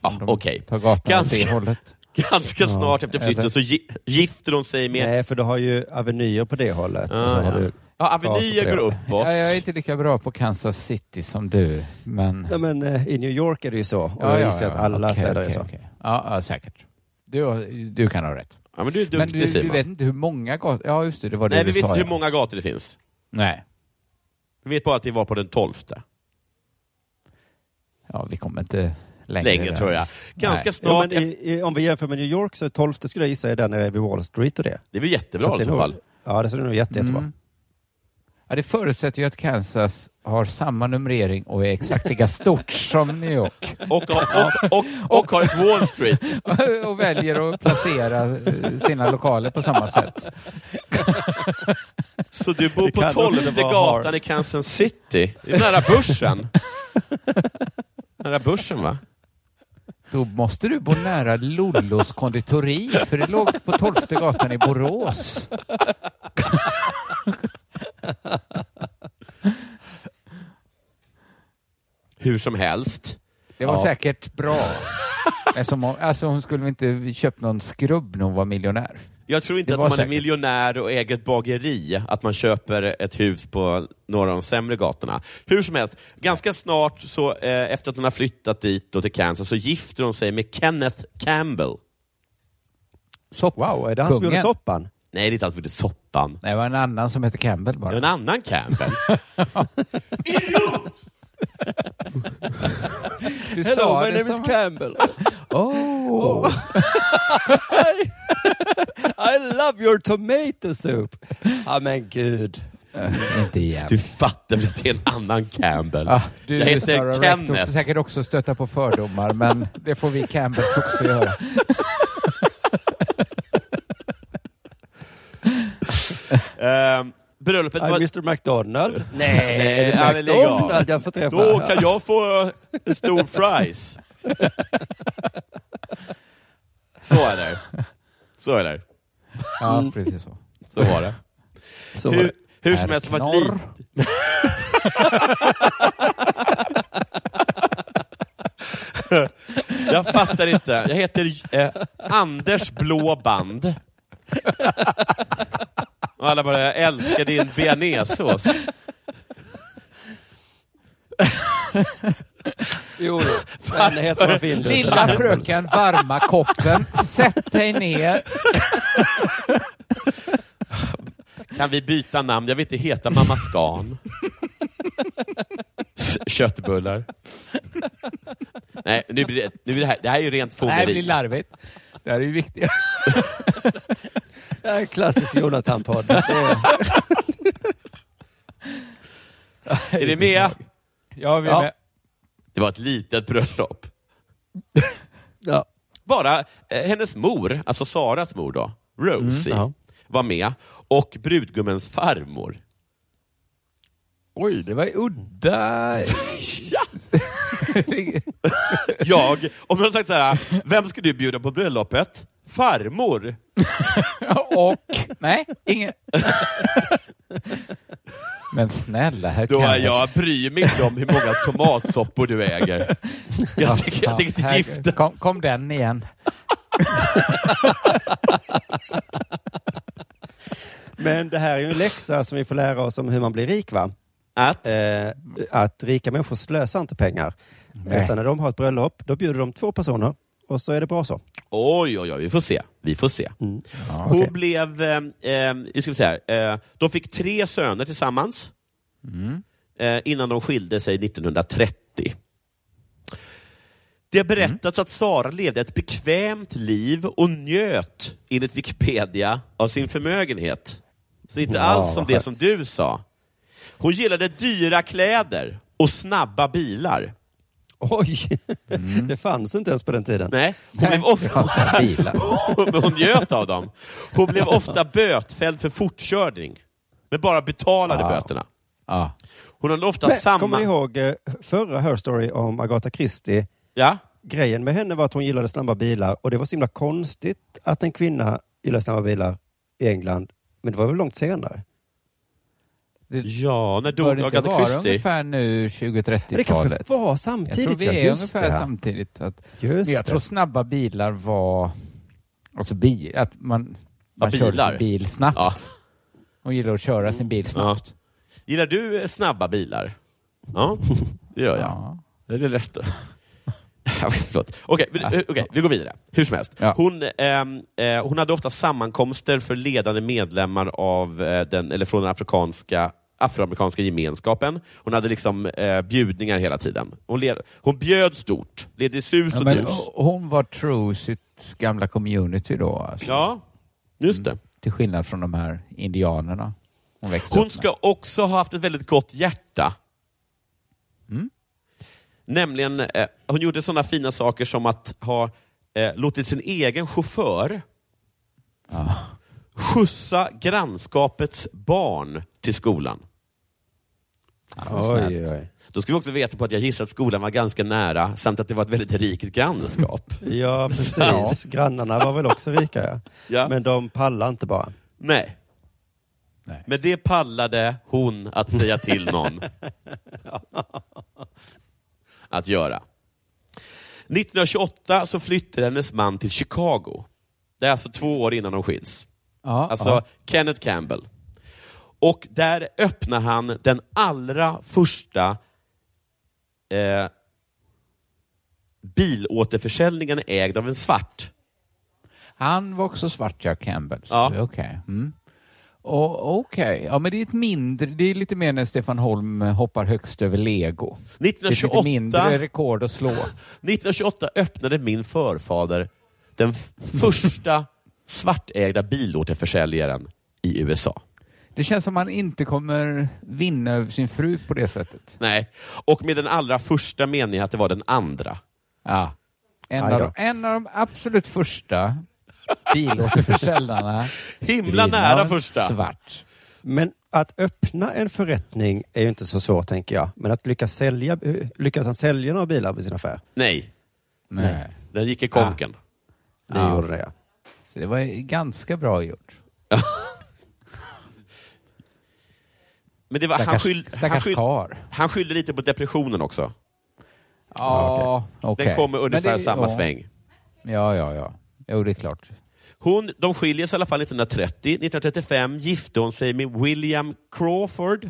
S1: Ja,
S2: om de
S1: Okej.
S2: Tar gatan åt
S1: Ganska-
S2: det hållet.
S1: Ganska snart efter
S2: eller-
S1: flytten så gi- gifter hon sig med...
S3: Nej, för du har ju avenyer på det hållet. och så
S1: Ah,
S3: har
S1: ja.
S3: du...
S1: ja,
S3: gator
S1: avenyer
S3: på
S1: går
S3: det.
S1: uppåt.
S2: Ja, jag är inte lika bra på Kansas City som du, men...
S3: Nej, men eh, i New York är det ju så. Och jag gissar att alla
S2: Okej,
S3: städer är
S2: okej,
S3: så.
S2: okej. Ja, ja, säkert. Du, har- du kan ha rätt.
S1: Ja, men du är duktig
S2: men du, du
S1: Simon.
S2: vet inte hur många gator... Ja, just det, det var det
S1: Nej,
S2: du
S1: vi vet
S2: sa.
S1: inte hur
S2: ja.
S1: många gator det finns.
S2: Nej.
S1: Vi vet bara att det var på den tolfte.
S2: Ja, vi kommer inte längre.
S1: Länge
S2: där.
S1: tror jag. Ganska
S2: Nej.
S3: Ja,
S1: snart.
S3: men i, i, om vi jämför med New York så är 12 skulle jag gissa är den nere vid Wall Street och det.
S1: Det är väl
S3: Så
S1: jättebra i
S3: att det är
S1: alla
S3: nog-
S1: fall.
S3: Ja, det ser nog jätte, jättebra.
S2: Mm. Ja, det förutsätter ju att Kansas har samma numrering och är exakt lika stort som New York.
S1: Och, och, och, och, och har ett Wall Street.
S2: och väljer att placera eh, sina lokaler på samma sätt.
S1: Så du bor
S3: Det kan
S1: på
S3: också
S1: tolfte
S3: vara
S1: gatan
S3: Har-
S1: i Kansas City. Det är nära börsen. nära börsen, va?
S2: Då måste du bo nära Lollos konditori, för det låg på 12 gatan i Borås.
S1: Hur som helst.
S2: Det var
S3: Ja.
S2: säkert bra. Men som om- Alltså hon skulle väl inte köpt någon skrubb när hon var miljonär?
S1: Jag tror inte
S2: Det
S1: att
S2: var
S1: om man är
S2: säkert.
S1: miljonär och äger ett bageri, att man köper ett hus på några av de sämre gatorna. Hur som helst, ganska snart, så, eh, efter att hon har flyttat dit och till Kansas, så gifter hon sig med Kenneth Campbell.
S2: Sopp.
S3: Wow, är det han som
S2: Kungen.
S3: gjorde soppan?
S1: Nej, det är inte alls för det är soppan.
S2: Nej, det var en annan som hette Campbell
S1: Det är
S2: bara.
S1: en annan Campbell.
S2: Du
S3: Hello,
S2: sa
S3: my
S2: det
S3: name
S2: som-
S3: is Campbell.
S2: Åh.
S3: I love your tomato soup. Ja, men gud.
S2: Äh, Inte igen.
S1: Du fattar väl att det är en annan Campbell?
S2: Ah, du
S1: jag
S2: Sarah
S1: heter
S2: Rector, får
S1: Kenneth.
S2: säkert också stöta på fördomar, men det får vi Campbells också göra.
S1: Ehm, bröllopet
S3: I'm
S1: var...
S3: Mr McDonald.
S1: Nej,
S3: Är det
S1: ja, men lägg av.
S3: McDonald jag får träffa?
S1: Då kan jag få en stor fries. Så är det. Så är det.
S3: Mm.
S2: Ja, precis så.
S1: Så var det.
S3: Så var
S1: Hur,
S3: det.
S1: hur som helst, det var ett
S2: Herr
S1: liv. Jag fattar inte. Jag heter eh, Anders Blå Band. Och alla bara, jag älskar din bearnaisesås.
S3: Jo, jo. men det heter man Findus.
S2: Lilla fröken, varma koppen. Sätt dig ner.
S1: Kan vi byta namn? Jag vill inte heta Mamma Skan. S- Köttbullar. Nej, nu blir det, nu blir det, här, det här är ju rent
S2: Nej, det
S1: fångeri.
S2: blir larvigt. Det här är ju viktigt.
S3: Det här är en klassisk Jonathan-podd. Det är-
S1: Är ni med?
S2: Ja, vi är
S3: Ja.
S2: med.
S1: Det var ett litet bröllop.
S3: Ja.
S1: Bara eh, hennes mor, alltså Saras mor då, Rosie,
S3: Mm, ja.
S1: var med. Och brudgummens farmor.
S2: Oj, det var ju udda.
S1: Ja! Jag, om jag hade sagt så här, vem ska du bjuda på bröllopet? Farmor.
S2: Och, nej, ingen. Men snälla, här
S1: Då
S2: kan
S1: är jag bryr mig inte om hur många tomatsoppor du äger. Jag tänker, jag tänker inte
S2: här-
S1: gifta
S2: Kom, kom den igen.
S3: Men det här är ju en läxa som vi får lära oss om hur man blir rik, va?
S1: att...
S3: Eh, att rika människor slösar inte pengar.
S2: Nej.
S3: Utan när de har ett bröllop, då bjuder de två personer och så är det bra så.
S1: Oj, oj, oj, vi får se. Vi får se.
S2: Ja.
S1: Mm. Hon
S3: Okej.
S1: blev... Eh, eh, nu ska vi säga här. Eh, de fick tre söner tillsammans eh, innan de skilde sig 1930. Det har berättats att Sara levde ett bekvämt liv och njöt, enligt Wikipedia, av sin förmögenhet. Så inte
S3: Wow,
S1: alls som
S3: vad
S1: det
S3: skönt.
S1: som du sa. Hon gillade dyra kläder och snabba bilar
S3: Oj! Det fanns inte ens på den tiden.
S1: Nej, hon blev
S2: Det
S1: ofta...
S2: fanns bara bilar.
S1: Men hon njöt av dem. Hon blev ofta bötfälld för fortkörning, men bara betalade
S3: Wow.
S1: böterna.
S2: Ja.
S1: Hon hade ofta
S3: Men,
S1: samma...
S3: Kommer ni ihåg eh, förra Her Story om Agatha Christie?
S1: Ja,
S3: Grejen med henne var att hon gillade snabba bilar och det var så himla konstigt att en kvinna gillade snabba bilar i England. Men det var väl långt senare?
S2: Det,
S1: ja när
S2: bör
S1: dog
S2: det inte
S1: Agatha
S2: vara
S1: Christie?
S2: ungefär nu
S3: Men det kanske
S2: 2030-talet?
S3: var
S2: Jag
S3: samtidigt.
S2: tror vi
S3: ja.
S2: är
S3: Just
S2: ungefär
S3: det, ja.
S2: samtidigt. Att,
S3: Just
S2: men jag
S3: det.
S2: tror snabba bilar var... Alltså bil, att man,
S1: Ja,
S2: man körde
S1: bilar.
S2: sin bil snabbt.
S1: Ja.
S2: Hon gillar att köra sin bil snabbt.
S1: Gillar du eh, snabba bilar? Ja, det gör jag. Det är lätt. Förlåt. Okej, vi- eh, okej, vi går vidare. Hur som helst.
S2: Ja.
S1: Hon, ehm, eh, hon hade ofta sammankomster för ledande medlemmar av, eh, den, eller från den afrikanska, afroamerikanska gemenskapen. Hon hade liksom eh, bjudningar hela tiden. Hon, le, hon bjöd stort. Led i sus
S2: Ja,
S1: och
S2: men
S1: dus.
S2: hon var true sitt gamla community då, alltså,
S1: Ja, just det.
S2: till skillnad från de här indianerna hon växte
S1: Hon
S2: upp
S1: ska också ha haft ett väldigt gott hjärta. Nämligen, eh, hon gjorde sådana fina saker som att ha eh, låtit sin egen chaufför skjutsa grannskapets barn till skolan.
S2: med. Ja, snällt.
S3: Oj, oj.
S1: Då ska vi också veta på att jag gissar att skolan var ganska nära samt att det var ett väldigt rikt grannskap.
S3: Ja, precis. Grannarna var väl också rika, ja.
S1: Ja.
S3: Men de pallar inte bara.
S1: Nej.
S2: Nej.
S1: Men det pallade hon att säga till någon att göra. 1928 så flyttade hennes man till Chicago. Det är alltså två år innan de skiljs.
S2: Ja,
S1: Alltså
S2: ja.
S1: Kenneth Campbell. Och där öppnar han den allra första eh, bilåterförsäljningen ägd av en svart.
S2: Han var också svart, Jack Campbell. så
S1: Ja.
S2: det är Okej. Mm. Och- Okej, ja men det är ett mindre, det är lite mer när Stefan Holm hoppar högst över lego. Det är ett lite
S1: 1928
S2: mindre rekord att slå.
S1: 1928 öppnade min förfader den f- första svartägda bilåterförsäljaren i USA.
S2: Det känns som han inte kommer vinna över sin fru på det sättet.
S1: Nej, och med den allra första menar jag att det var den andra.
S2: Ja. En,
S3: Aj
S2: av
S3: då.
S2: de, en av de absolut första bilåterförsäljarna.
S1: Himla
S2: Vinna
S1: nära
S2: en
S1: första.
S2: Svart.
S3: Men att öppna en förrättning är ju inte så svårt, tänker jag. Men att lyckas, sälja, eh, lyckas han sälja några bilar på sin affär?
S1: Nej,
S2: Nej.
S1: den gick i
S2: Ah.
S1: konken.
S3: Det
S2: Ja.
S3: gjorde det, ja.
S2: Så det var ju ganska bra gjort.
S1: Men det var, han,
S2: Stackars,
S1: skyll, han,
S2: stackars
S1: skyll,
S2: karl.
S1: han skyllde lite på depressionen också.
S2: Ja, okej.
S1: Den kom i
S2: Men
S1: ungefär
S2: det-
S1: samma
S2: ja.
S1: sväng.
S2: Ja, ja, ja. Jo, det är klart.
S1: Hon, de skiljer sig i alla fall 1930. 1935 gifte hon sig med William Crawford.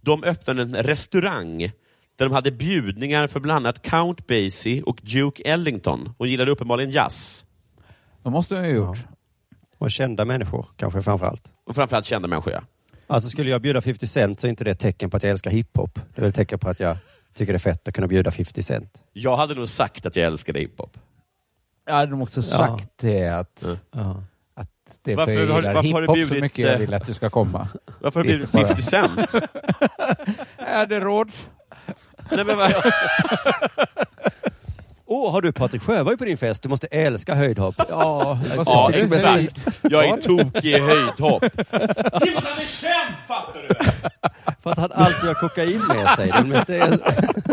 S1: De öppnade en restaurang där de hade bjudningar för bland annat Count Basie och Duke Ellington. Hon gillade uppenbarligen jazz.
S2: Det måste hon ju ha gjort.
S3: Och kända människor, kanske framför allt.
S1: Och framförallt kända människor. ja.
S3: Alltså skulle jag bjuda 50 cent så är inte det ett tecken på att jag älskar hiphop. Det är väl ett tecken på att jag tycker det är fett att kunna bjuda 50 cent.
S1: Jag hade nog sagt att jag älskade hiphop.
S2: Jag hade nog också sagt det att, att det är
S1: Varför
S2: för jag
S1: har-
S2: gillar
S1: varför har du
S2: hiphop så
S1: bjudit,
S2: mycket jag
S1: eh,
S2: vill att du ska komma.
S1: Varför har det blivit
S2: Hiphop,
S1: 50 Cent?
S2: Är det råd?
S1: Nej, men vad...
S3: Åh, har du Patrik Sjöberg på din fest? Du måste älska höjdhopp.
S2: Ja, vad sa
S1: Ja,
S2: du?
S1: exakt. Jag är tokig i höjdhopp. Hitta dig känd, fattar du!
S3: För att han alltid har kokain med sig. Den mest är...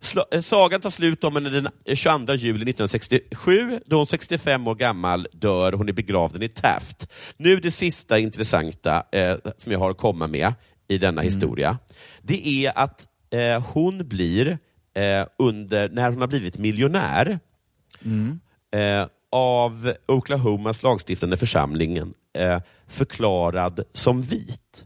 S1: Sla- eh, Sagan tar slut om henne den 22 juli 1967 då hon 65 år gammal dör. Hon är begravd i Taft. Nu det sista intressanta eh, som jag har att komma med i denna historia. Det är att eh, hon blir, eh, under, när hon har blivit miljonär, eh, av Oklahomas lagstiftande församlingen eh, förklarad som vit.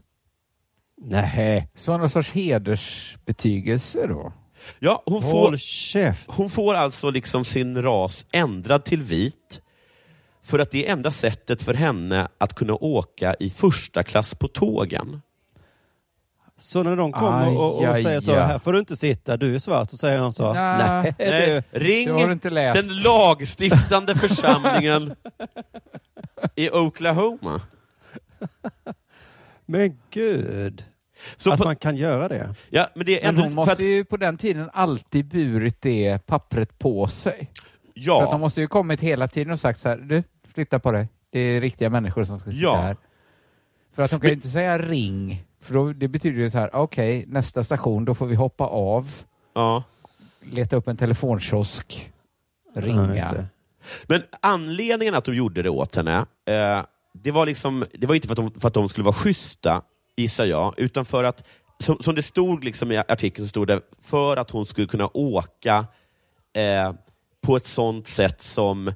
S3: Nej.
S2: Så någon sorts hedersbetygelse då?
S1: Ja, hon får
S3: Håll käft.
S1: Hon får alltså liksom sin ras ändrad till vit för att det är enda sättet för henne att kunna åka i första klass på tågen.
S3: Så när de kommer och, och
S2: Aj,
S3: säger så,
S2: aj, ja.
S3: här får du inte sitta, du är svart, så säger han så,
S2: Nja.
S3: nej.
S1: Nej,
S3: Du.
S1: Eh, ring
S2: det har du inte läst.
S1: den lagstiftande församlingen i Oklahoma.
S3: Men gud.
S1: Så
S3: att
S1: på,
S3: man kan göra det.
S1: ja, men det är ändå
S2: Men hon
S1: lite för att,
S2: måste ju på den tiden alltid burit det pappret på sig. För att de
S1: ja,
S2: måste ju kommit hela tiden och sagt så här, du, flytta på dig. Det är riktiga människor som ska sitta
S1: Ja.
S2: här. För att de kan ju
S1: Men-
S2: inte säga ring, för då, det betyder ju så här, okej, nästa station, då får vi hoppa av,
S1: ja.
S2: leta upp en telefonkiosk,
S3: Ja,
S2: ringa.
S3: just det.
S1: Men anledningen att de gjorde det åt henne, eh, det var liksom, det var inte för att, de, för att de skulle vara schyssta, gissar jag, utan för att, som, som det stod liksom i artikeln, så stod det för att hon skulle kunna åka eh, på ett sånt sätt som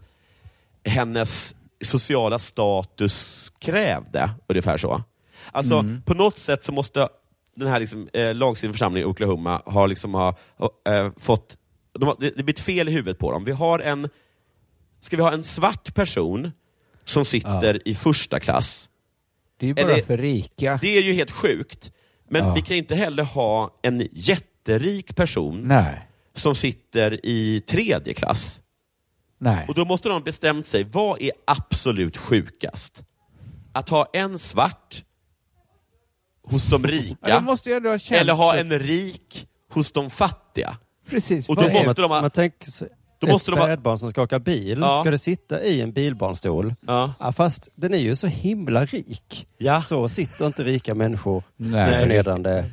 S1: hennes sociala status krävde. Ungefär så. Alltså,
S2: Mm.
S1: på något sätt så måste den här liksom, eh, lagstiftande församlingen i Oklahoma ha, liksom, ha, ha eh, fått... De har, det, det blir ett fel i huvudet på dem. Vi har en, ska vi ha en svart person som sitter i första klass?
S2: Det är ju bara
S1: Eller-
S2: för rika.
S1: Det är ju helt sjukt. Men
S2: Ja.
S1: vi kan inte heller ha en jätterik person
S2: Nej,
S1: som sitter i tredje klass.
S2: nej.
S1: Och då måste de bestämt sig, vad är absolut sjukast? Att ha en svart hos de
S2: Ja,
S1: rika,
S2: de måste ju ändå ha känt
S1: eller ha
S2: sig-
S1: en rik hos de fattiga?
S2: Precis,
S1: och
S2: vad
S1: då
S2: är-
S1: måste
S3: Som att,
S1: de ha-
S3: man tänker sig
S1: Då
S3: ett
S1: måste de ha-
S3: spädbarn som skakar bil.
S1: Ja.
S3: Ska det sitta i en bilbarnstol?
S1: Ja.
S3: fast den är ju så himla rik.
S1: Ja.
S3: Så sitter inte rika människor.
S2: Nej.
S3: Förnedrande.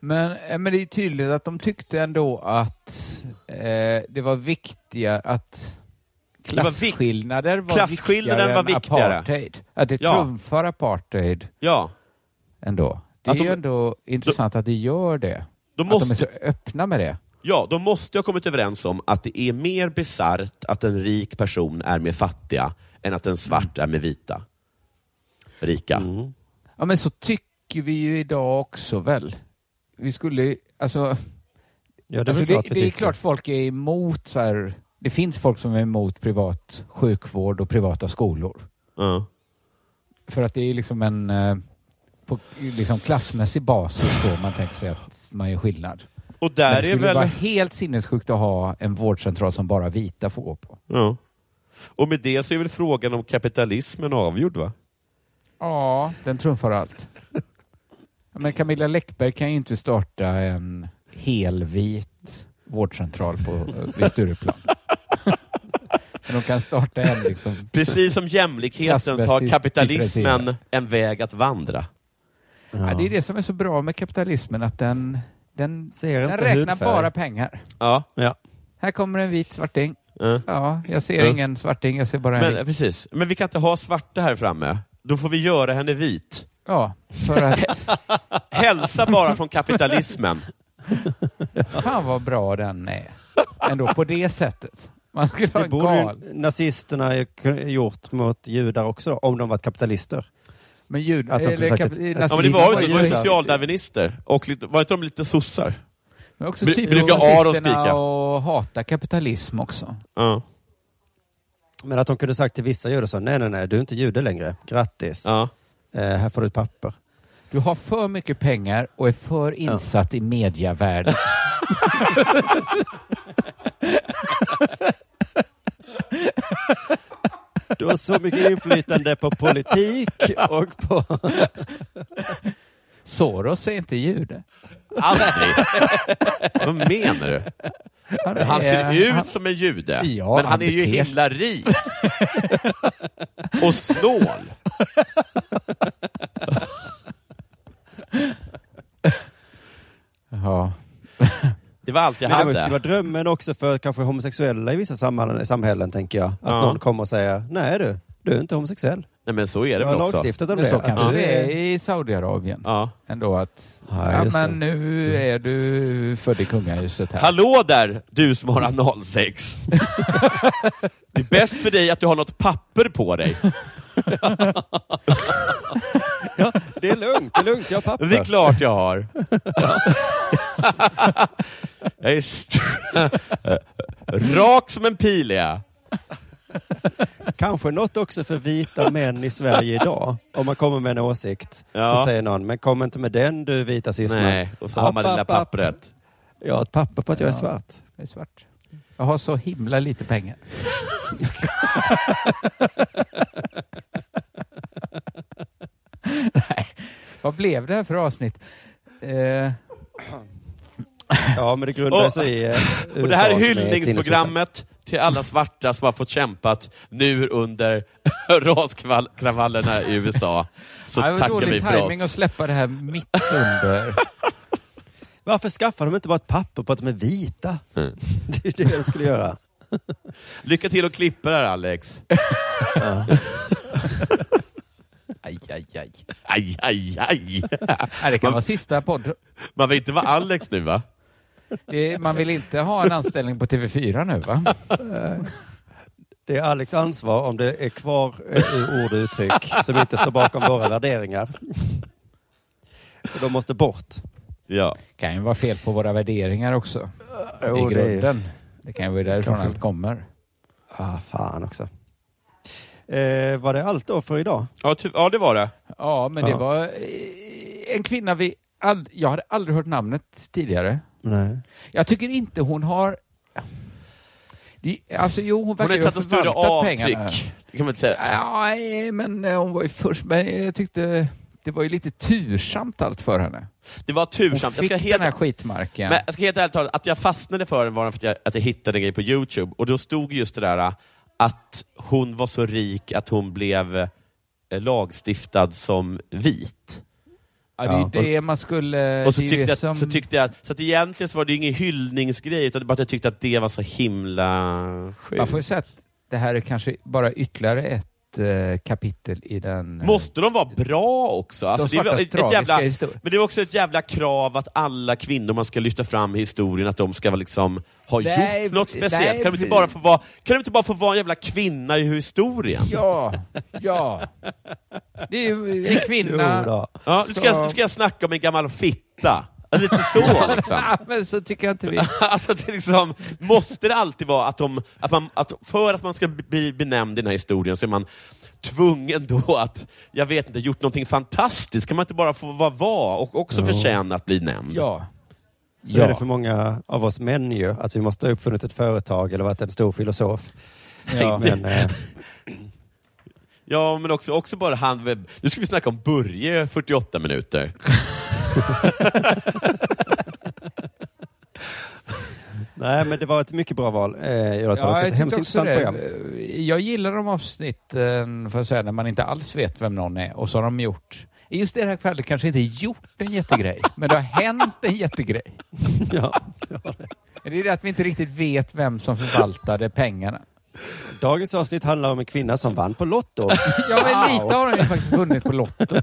S2: Men, eh, men det är tydligt att de tyckte ändå att eh, det var viktiga att
S1: var vik-
S2: klasskillnader var,
S1: Klasskillnaden
S2: viktigare
S1: var
S2: än
S1: viktigare.
S2: apartheid. Att det
S1: Ja.
S2: trumfar apartheid
S1: Ja,
S2: ändå. Det
S1: Att
S2: är
S1: de-
S2: ju ändå intressant att det gör det.
S1: de
S2: Att de är
S1: måste,
S2: så öppna med det.
S1: ja, de måste ha kommit överens om att det är mer bisarrt att en rik person är med fattiga än att en svart är med vita. Rika.
S2: Mm.
S3: Mm.
S2: Ja, men så tycker vi ju idag också väl. Vi skulle ju- alltså,
S3: Ja, det är
S2: alltså
S3: väl klart vi
S2: det är
S3: tycker.
S2: klart folk är emot så här. Det finns folk som är emot privat sjukvård och privata skolor.
S1: Ja.
S2: För att det är liksom en eh, på liksom klassmässig basis då man tänker sig att man gör skillnad.
S1: Och
S2: Men
S1: där
S2: det
S1: är
S2: skulle ju
S1: väl...
S2: vara helt sinnessjukt att ha en vårdcentral som bara vita får gå på.
S1: Ja. Och med det så är väl frågan om kapitalismen avgjord, va?
S2: Ja, den trumfar allt. Ja, Men Camilla Läckberg kan ju inte starta en helvit vårdcentral på eh, vid Stureplan. Men de kan starta en liksom.
S1: Precis som jämlikheten så har
S2: Klassmässigt
S1: kapitalismen
S2: differentierad.
S1: en väg att vandra.
S2: Ja. det är det som är så bra med kapitalismen att den, den,
S3: Ser
S2: den
S3: inte
S2: räknar
S3: hudfärg.
S2: bara pengar.
S1: Ja.
S3: Ja.
S2: Här kommer en vit svarting.
S1: eh.
S2: Ja, jag ser
S1: Ja.
S2: ingen svarting, jag ser bara en
S1: Men,
S2: vit.
S1: eh, precis. Men vi kan inte ha svarta här framme. Då får vi göra henne vit.
S2: Ja, för att...
S1: Hälsa bara från kapitalismen.
S2: Alltså, Fan vad bra den är. Ändå på det sättet. Man skulle ha
S3: Det
S2: en
S3: borde
S2: gal.
S3: ju nazisterna ju kun- gjort mot judar också, då, om de varit kapitalister.
S2: Men ljud...
S3: Att de kunde
S2: eller
S3: sagt
S2: kap-
S3: ett- ett-
S1: Ja,
S2: nazister
S1: men det var ju
S2: ju
S1: de var ju
S3: Oj, oj.
S1: socialdarwinister. Och lite, var inte de lite sossar?
S2: Men också
S1: Nu-
S2: typ
S1: nu ska Aron skrika.
S2: och hata kapitalism också.
S1: Ja.
S3: Men att de kunde sagt till vissa judar så, nej, nej, nej, du är inte jude längre. Grattis.
S1: Ja.
S3: Eh, här får du ett papper.
S2: Du har för mycket pengar och är för insatt i mediavärlden.
S3: Du har så mycket inflytande på politik och på...
S2: Soros är inte jude.
S1: Aldrig. Vad menar du?
S2: är-
S1: Han ser
S2: Eh, han-
S1: ut som en jude,
S2: Ja,
S1: men han
S2: han
S1: är ju
S2: beter sig-
S1: himla rik. Och snål.
S2: Ja.
S1: Det var allt jag
S3: Men det
S1: hade.
S3: skulle vara drömmen också för kanske homosexuella i vissa samhällen, samhällen tänker jag. Att
S1: Ja.
S3: någon kommer och säger, nej du, du är inte homosexuell.
S1: Nej, men så är det
S3: Jag har
S1: väl också.
S3: lagstiftat om
S2: Men
S3: det.
S2: så
S3: att
S2: kanske
S3: du
S2: det är i Saudiarabien.
S1: Ja.
S2: Ändå att...
S3: Ja,
S2: Ja,
S3: just Mm.
S2: men nu är du född i kungahuset här.
S1: Hallå där, du som har analsex. Det är bäst för dig att du har något papper på dig.
S3: Det är lugnt, det är lugnt, jag har papper.
S1: Det är klart jag har. Jag är st- rak som en pil är jag.
S3: Kanske något också för vita män i Sverige idag. Om man kommer med en åsikt
S1: Ja.
S3: så säger någon, men kom inte med den du vita cisman.
S1: Nej, och så har man det lilla
S3: App, app, app.
S1: pappret.
S3: Jag har ett papper på att jag är
S2: Ja.
S3: svart.
S2: Jag är svart. Jag har så himla lite pengar. Nej, Vad blev det här för avsnitt? Eh,
S3: Ja, men det grundar sig i eh,
S1: Och det här är
S3: USA som ett
S1: hyllningsprogrammet till alla svarta som har fått kämpat nu under raskravallerna i USA. Så
S2: ja, det var
S1: tackar
S2: dålig
S1: vi för
S2: tajming att
S1: oss.
S2: släppa det här mitt under.
S3: sinnesförfattare. Varför skaffar de inte bara ett papper på att de är vita?
S1: Mm.
S3: Det är ju det de skulle göra.
S1: Lycka till och klippa det här Alex.
S2: aj, aj, aj.
S1: Aj, aj, aj.
S2: Nej, det kan
S1: Man-
S2: vara sista podd.
S1: Man vill inte vara Alex nu va?
S2: Det, man vill inte ha en anställning på TV4 nu va?
S3: Det är Alex ansvar om det är kvar eh, i ord och uttryck som inte står bakom våra värderingar. Och De måste bort.
S1: Ja.
S2: kan ju vara fel på våra värderingar också.
S3: Jo,
S2: I
S3: det är-
S2: grunden. Det, kan ju vara därifrån
S3: Kanske.
S2: allt kommer.
S3: Ah, fan också. Eh, var det allt då för idag?
S1: Ja, ty- ja, det var det.
S2: Ja, men det
S3: Ja.
S2: var eh, en kvinna vi... All, jag hade aldrig hört namnet tidigare.
S3: Nej.
S2: Jag tycker inte hon har... Det, alltså jo, hon
S1: Hon
S2: verkar
S1: har
S2: ju ha
S1: inte satt ett större
S2: förvaltat
S1: avtryck.
S2: pengarna.
S1: Det kan man inte säga. Äh,
S2: Ja, eh, men eh, hon var ju först. Men eh, jag tyckte det var ju lite tursamt allt för henne.
S1: Det var
S2: Hon
S1: tursamt. Jag
S2: fick
S1: ska
S2: den här
S1: helt
S2: skitmarken.
S1: Men jag ska helt ärligt tala, att jag fastnade för den var för att jag, att jag hittade en grej på Youtube och då stod just det där äh, att hon var så rik att hon blev eh, lagstiftad som vit.
S2: ja, det är ju
S3: Ja.
S2: det man skulle...
S1: Och så
S2: det är
S1: tyckte,
S2: ju det
S1: jag,
S2: som,
S1: så tyckte jag, så att egentligen så var det ju ingen hyllningsgrej, utan bara att jag tyckte att det var så himla
S2: Man får ju
S1: sjukt.
S2: säga att det här är kanske bara ytterligare ett eh, kapitel i den... eh,
S1: Måste de vara bra också? Alltså,
S2: de
S1: det är väl
S2: svartas
S1: ett, ett
S2: tragiska
S1: jävla,
S2: historia.
S1: men det är också ett jävla krav att alla kvinnor man ska lyfta fram i historien, att de ska vara liksom ha
S2: Nej,
S1: gjort något
S2: nej,
S1: speciellt. kan, de inte bara få vara, kan de inte bara få vara en jävla kvinna i historien?
S2: Ja, ja. Det är ju en kvinna.
S3: Jo då.
S1: Ja, nu ska, jag, nu ska jag snacka om en gammal fitta. Alltså, lite så liksom.
S2: Nej, men så tycker jag inte vi.
S1: Alltså, det är liksom, måste det alltid vara att, de, att, man, att för att man ska bli benämnd i den här historien så är man tvungen då att, jag vet inte, gjort någonting fantastiskt. Kan man inte bara få vara vara och också förtjäna att bli nämnd?
S2: Ja.
S3: Så
S1: Ja.
S3: är det för många av oss män ju, att vi måste ha uppfunnit ett företag eller varit en stor filosof.
S2: ja.
S3: Men, eh,
S1: Ja, men också, också bara han... Nu ska vi snacka om Börje 48 minuter.
S3: nej, men det var ett mycket bra val, eh, Jonathan.
S2: Ja,
S3: Och ett
S2: jag,
S3: hemskt
S2: tyckte också
S3: intressant program.
S2: det. jag gillar de avsnitten får jag säga, när man inte alls vet vem någon är och så har de gjort, just i det här fallet kanske inte gjort en jättegrej, men det har hänt en jättegrej.
S3: Ja.
S2: Det är det att vi inte riktigt vet vem som förvaltade pengarna.
S3: Dagens avsnitt handlar om en kvinna som vann på Lotto.
S2: Ja, men lite har de ju faktiskt vunnit på Lotto.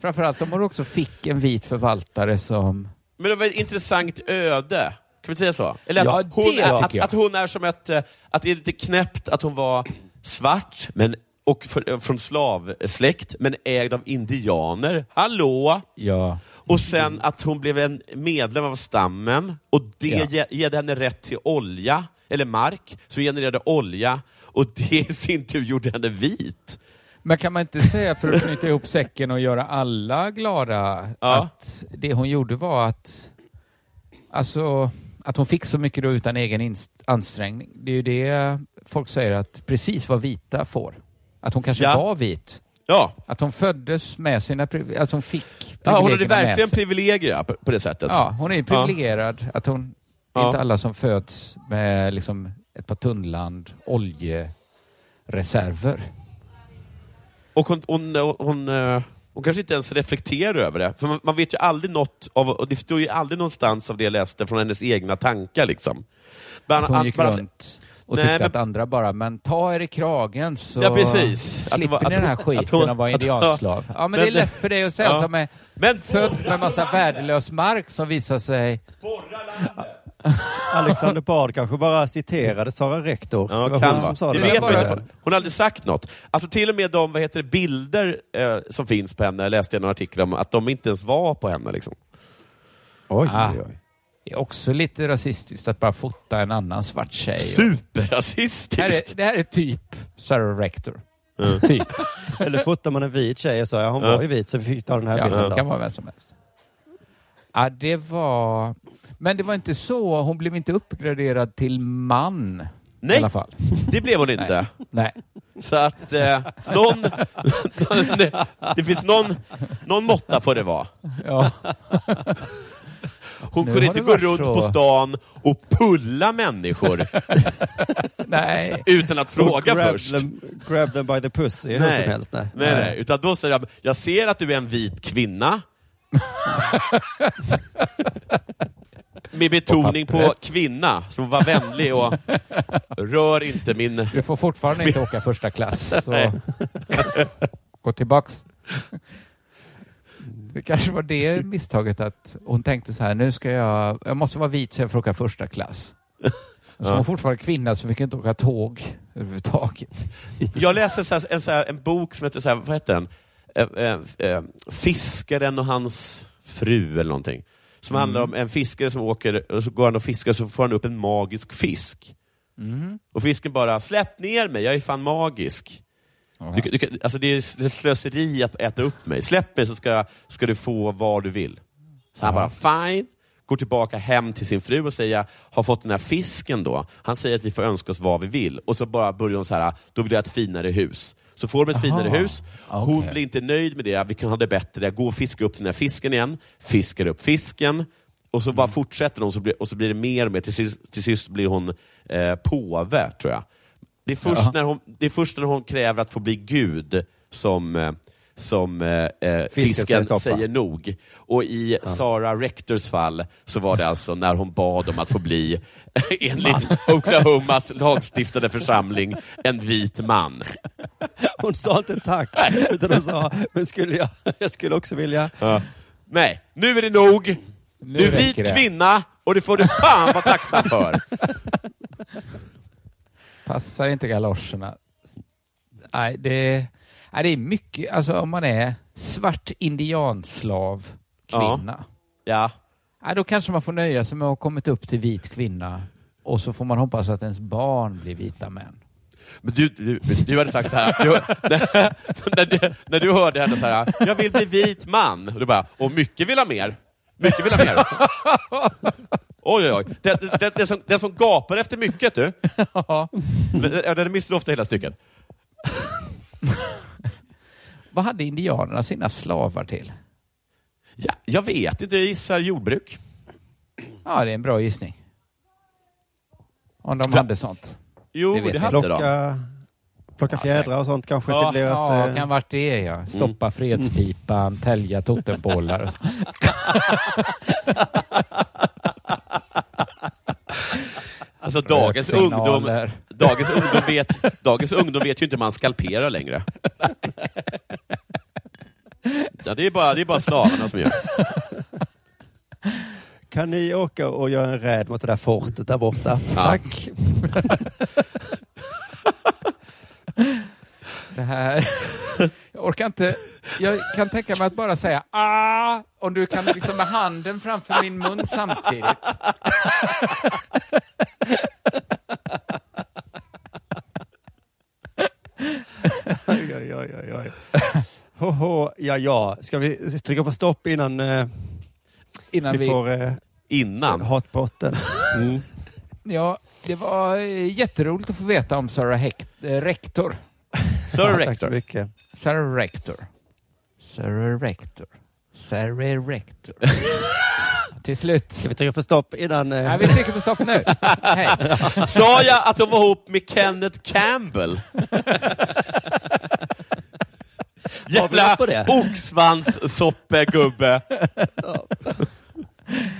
S2: Framförallt de har också fick en vit förvaltare som...
S1: Men det var ett intressant öde. Kan vi säga så? Eller att,
S2: Ja,
S1: hon,
S2: det
S1: är, att,
S2: tycker jag.
S1: att hon är som ett... eh, Att det är lite knäppt att hon var svart men, och för, eh, från slavsläkt, men ägd av indianer. Hallå!
S2: Ja.
S1: Och sen att hon blev en medlem av stammen och det
S2: Ja.
S1: ge, gav henne rätt till olja, eller mark, som genererade olja och det i sin tur gjorde henne vit.
S2: Men kan man inte säga, för att knyta ihop säcken och göra alla glada,
S1: Ja.
S2: att det hon gjorde var att... Alltså, att hon fick så mycket då utan egen inst- ansträngning. Det är ju det folk säger att precis vad vita får. Att hon kanske
S1: Ja.
S2: var vit.
S1: Ja,
S2: Att hon föddes med sina privilegier. Att hon fick
S1: ja hon hade
S2: privilegierna med
S1: verkligen
S2: sig.
S1: privilegier på, på det sättet.
S2: Ja, hon är ju privilegierad. Att hon, det är
S1: Ja.
S2: inte alla som föds med liksom ett par tunnland oljereserver.
S1: Och hon, hon, hon, eh, hon kanske inte ens reflekterar över det. För man, man vet ju aldrig något av, och det står ju aldrig någonstans av det jag läste från hennes egna tankar liksom. Bara-
S2: Att hon gick
S1: bara-
S2: runt och
S1: Nej,
S2: tyckte
S1: men-
S2: att andra bara, men ta er i kragen så
S1: Ja, precis. Att det
S2: slipper
S1: var-
S2: ni
S1: att-
S2: den här
S1: att
S2: skiten
S1: hon-
S2: att vara
S1: att-
S2: indianslav. Ja, men, det är
S1: Men-
S2: lätt för dig att säga
S1: Ja.
S2: som är
S1: Men
S2: född med massa värdelös mark som visar sig...
S3: Alexander Bard kanske bara citerade Sara Rektor.
S1: Ja,
S3: det var
S1: kan
S3: hon som sa
S1: vara.
S3: det.
S1: Det
S2: där.
S1: vet man
S2: Bara-
S1: inte. Hon har aldrig sagt något. Alltså till och med de vad heter det, bilder eh, som finns på henne, jag läste jag någon artikel om, att de inte ens var på henne. Liksom.
S3: Oj,
S2: Ah.
S3: oj, oj.
S2: Det är också lite rasistiskt att bara fota en annan svart tjej. Det här
S1: Superrasistiskt!
S2: är, det här är typ Sarah Rector.
S1: Mm.
S3: Typ. Eller fotar man en vit tjej och sa ja, hon var ju vit så vi fick ta den här
S2: Ja,
S3: bilden.
S2: det
S3: då.
S2: kan vara vem som helst. Ja, det var... Men det var inte så. Hon blev inte uppgraderad till man.
S1: Nej.
S2: I alla fall.
S1: Det blev hon
S2: Nej.
S1: inte.
S2: Nej.
S1: Så att eh, någon, det finns någon, någon måtta får det vara.
S2: Ja.
S1: Hon
S2: Nu
S1: kunde inte
S2: har det
S1: gå
S2: varit
S1: runt
S2: så.
S1: på stan och pulla människor
S2: Nej.
S1: utan att fråga
S3: grab
S1: först.
S3: Them, grab them by the pussy hur som helst. Nej.
S1: Nej, nej. Utan då säger jag, jag ser att du är en vit kvinna. Med betoning på kvinna, som var vänlig och rör inte min...
S2: Du får fortfarande inte åka första klass. Så. Gå tillbaks. Det kanske var det misstaget att hon tänkte så här, nu ska jag, jag måste vara vit så jag får åka första klass. Som hon fortfarande är kvinna så fick jag inte åka tåg överhuvudtaget.
S1: Jag läste så här, en, så här, en bok som heter, så här, vad heter den? Eh, eh, eh, Fiskaren och hans fru eller någonting. Som handlar om en fiskare som åker, och så går han och fiskar så får han upp en magisk fisk. Och fisken bara, släpp ner mig, jag är fan magisk. Du, du, kan- alltså det är slöseri att äta upp mig. Släpp mig så ska, jag- ska du få vad du vill. Så han bara, fine. Går tillbaka hem till sin fru och säger, har fått den här fisken då. Han säger att vi får önska oss vad vi vill. Och så bara börjar hon så här, då vill jag ha ett finare hus. Så får de ett
S2: Aha.
S1: finare hus. Hon
S2: Okej.
S1: blir inte nöjd med det. Vi kan ha det bättre. Gå och fiska upp den här fisken igen. Fiskar upp fisken. Och så bara fortsätter hon så blir, och så blir det mer och mer. Till sist, till sist blir hon eh, påve, tror jag. Det är, först när hon, det är först när hon kräver att få bli gud som, eh, som eh, eh, fisken
S3: säger
S1: säger,
S3: stoppa.
S1: nog. Och i Sarah Rectors fall så var det alltså när hon bad om att få bli, enligt Oklahomas lagstiftade församling, en vit man.
S3: Hon sa inte tack, utan hon sa, men skulle jag, jag skulle också vilja.
S1: Nej, nu är det nog. du är vit
S2: räcker det.
S1: kvinna och det får du fan vara tacksam för.
S2: Passar inte galoscherna. Nej, det, nej, det är mycket, alltså om man är svart indianslav kvinna.
S1: Ja.
S2: Ja, då kanske man får nöja sig med att ha kommit upp till vit kvinna och så får man hoppas att ens barn blir vita män.
S1: Men du, du, du hade sagt så här, du, när, när, du, när du hörde henne så här, jag vill bli vit man. Och du bara, och mycket vill ha mer. Mycket vill ha mer. Oj, oj, oj. Den, den, den, som, den som gapar efter mycket, du. Men, ja, Den missar ofta hela stycket.
S2: Vad hade indianerna sina slavar till?
S1: Ja, jag vet inte, jag gissar jordbruk.
S2: Ja, det är en bra gissning. Om de hade sånt.
S1: Jo,
S2: Det
S1: det,
S2: vet jag.
S1: hade de.
S3: Plocka, plocka fjädrar och sånt kanske
S1: Ja,
S3: till deras...
S2: Ja,
S3: eh,
S2: kan varit det
S1: Mm.
S2: ja. Stoppa fredspipan, tälja totempålar.
S1: Alltså, dagens ungdom,
S2: Röksignaler.
S1: dagens, ungdom vet, dagens ungdom vet ju inte hur man skalperar längre. Ja, det, är bara, det är bara slavarna som gör
S3: Kan ni åka och göra en räd mot det där fortet där borta? Tack.
S2: Det här... Jag orkar inte... Jag kan tänka mig att bara säga ah, om du kan liksom med handen framför min mun samtidigt.
S3: Oj, oj, oj, oj, oj. Hoho, ja, ja. Ska vi trycka på stopp innan eh,
S2: Innan
S3: vi
S2: vi
S3: får eh,
S1: innan.
S3: hatbrotten? Mm.
S2: Ja, det var eh, jätteroligt att få veta om Sarah Hect- eh, Rector.
S1: Sir
S3: Tack så
S1: Rector.
S3: mycket.
S2: Sarah Rector. Sarah Rector. Sarah Rector. Till slut.
S3: Ska vi trycka på stopp innan... Eh,
S2: Nej, vi trycker på stopp nu. Hej.
S1: Sa jag att de var ihop med Kenneth Campbell?
S3: varit
S1: Jävla
S3: på det?
S1: oxsvanssoppegubbe.
S2: Nu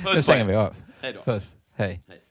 S1: Puss på er.
S2: stänger vi av.
S1: Hej då.
S2: Puss. Hej.
S1: Hej.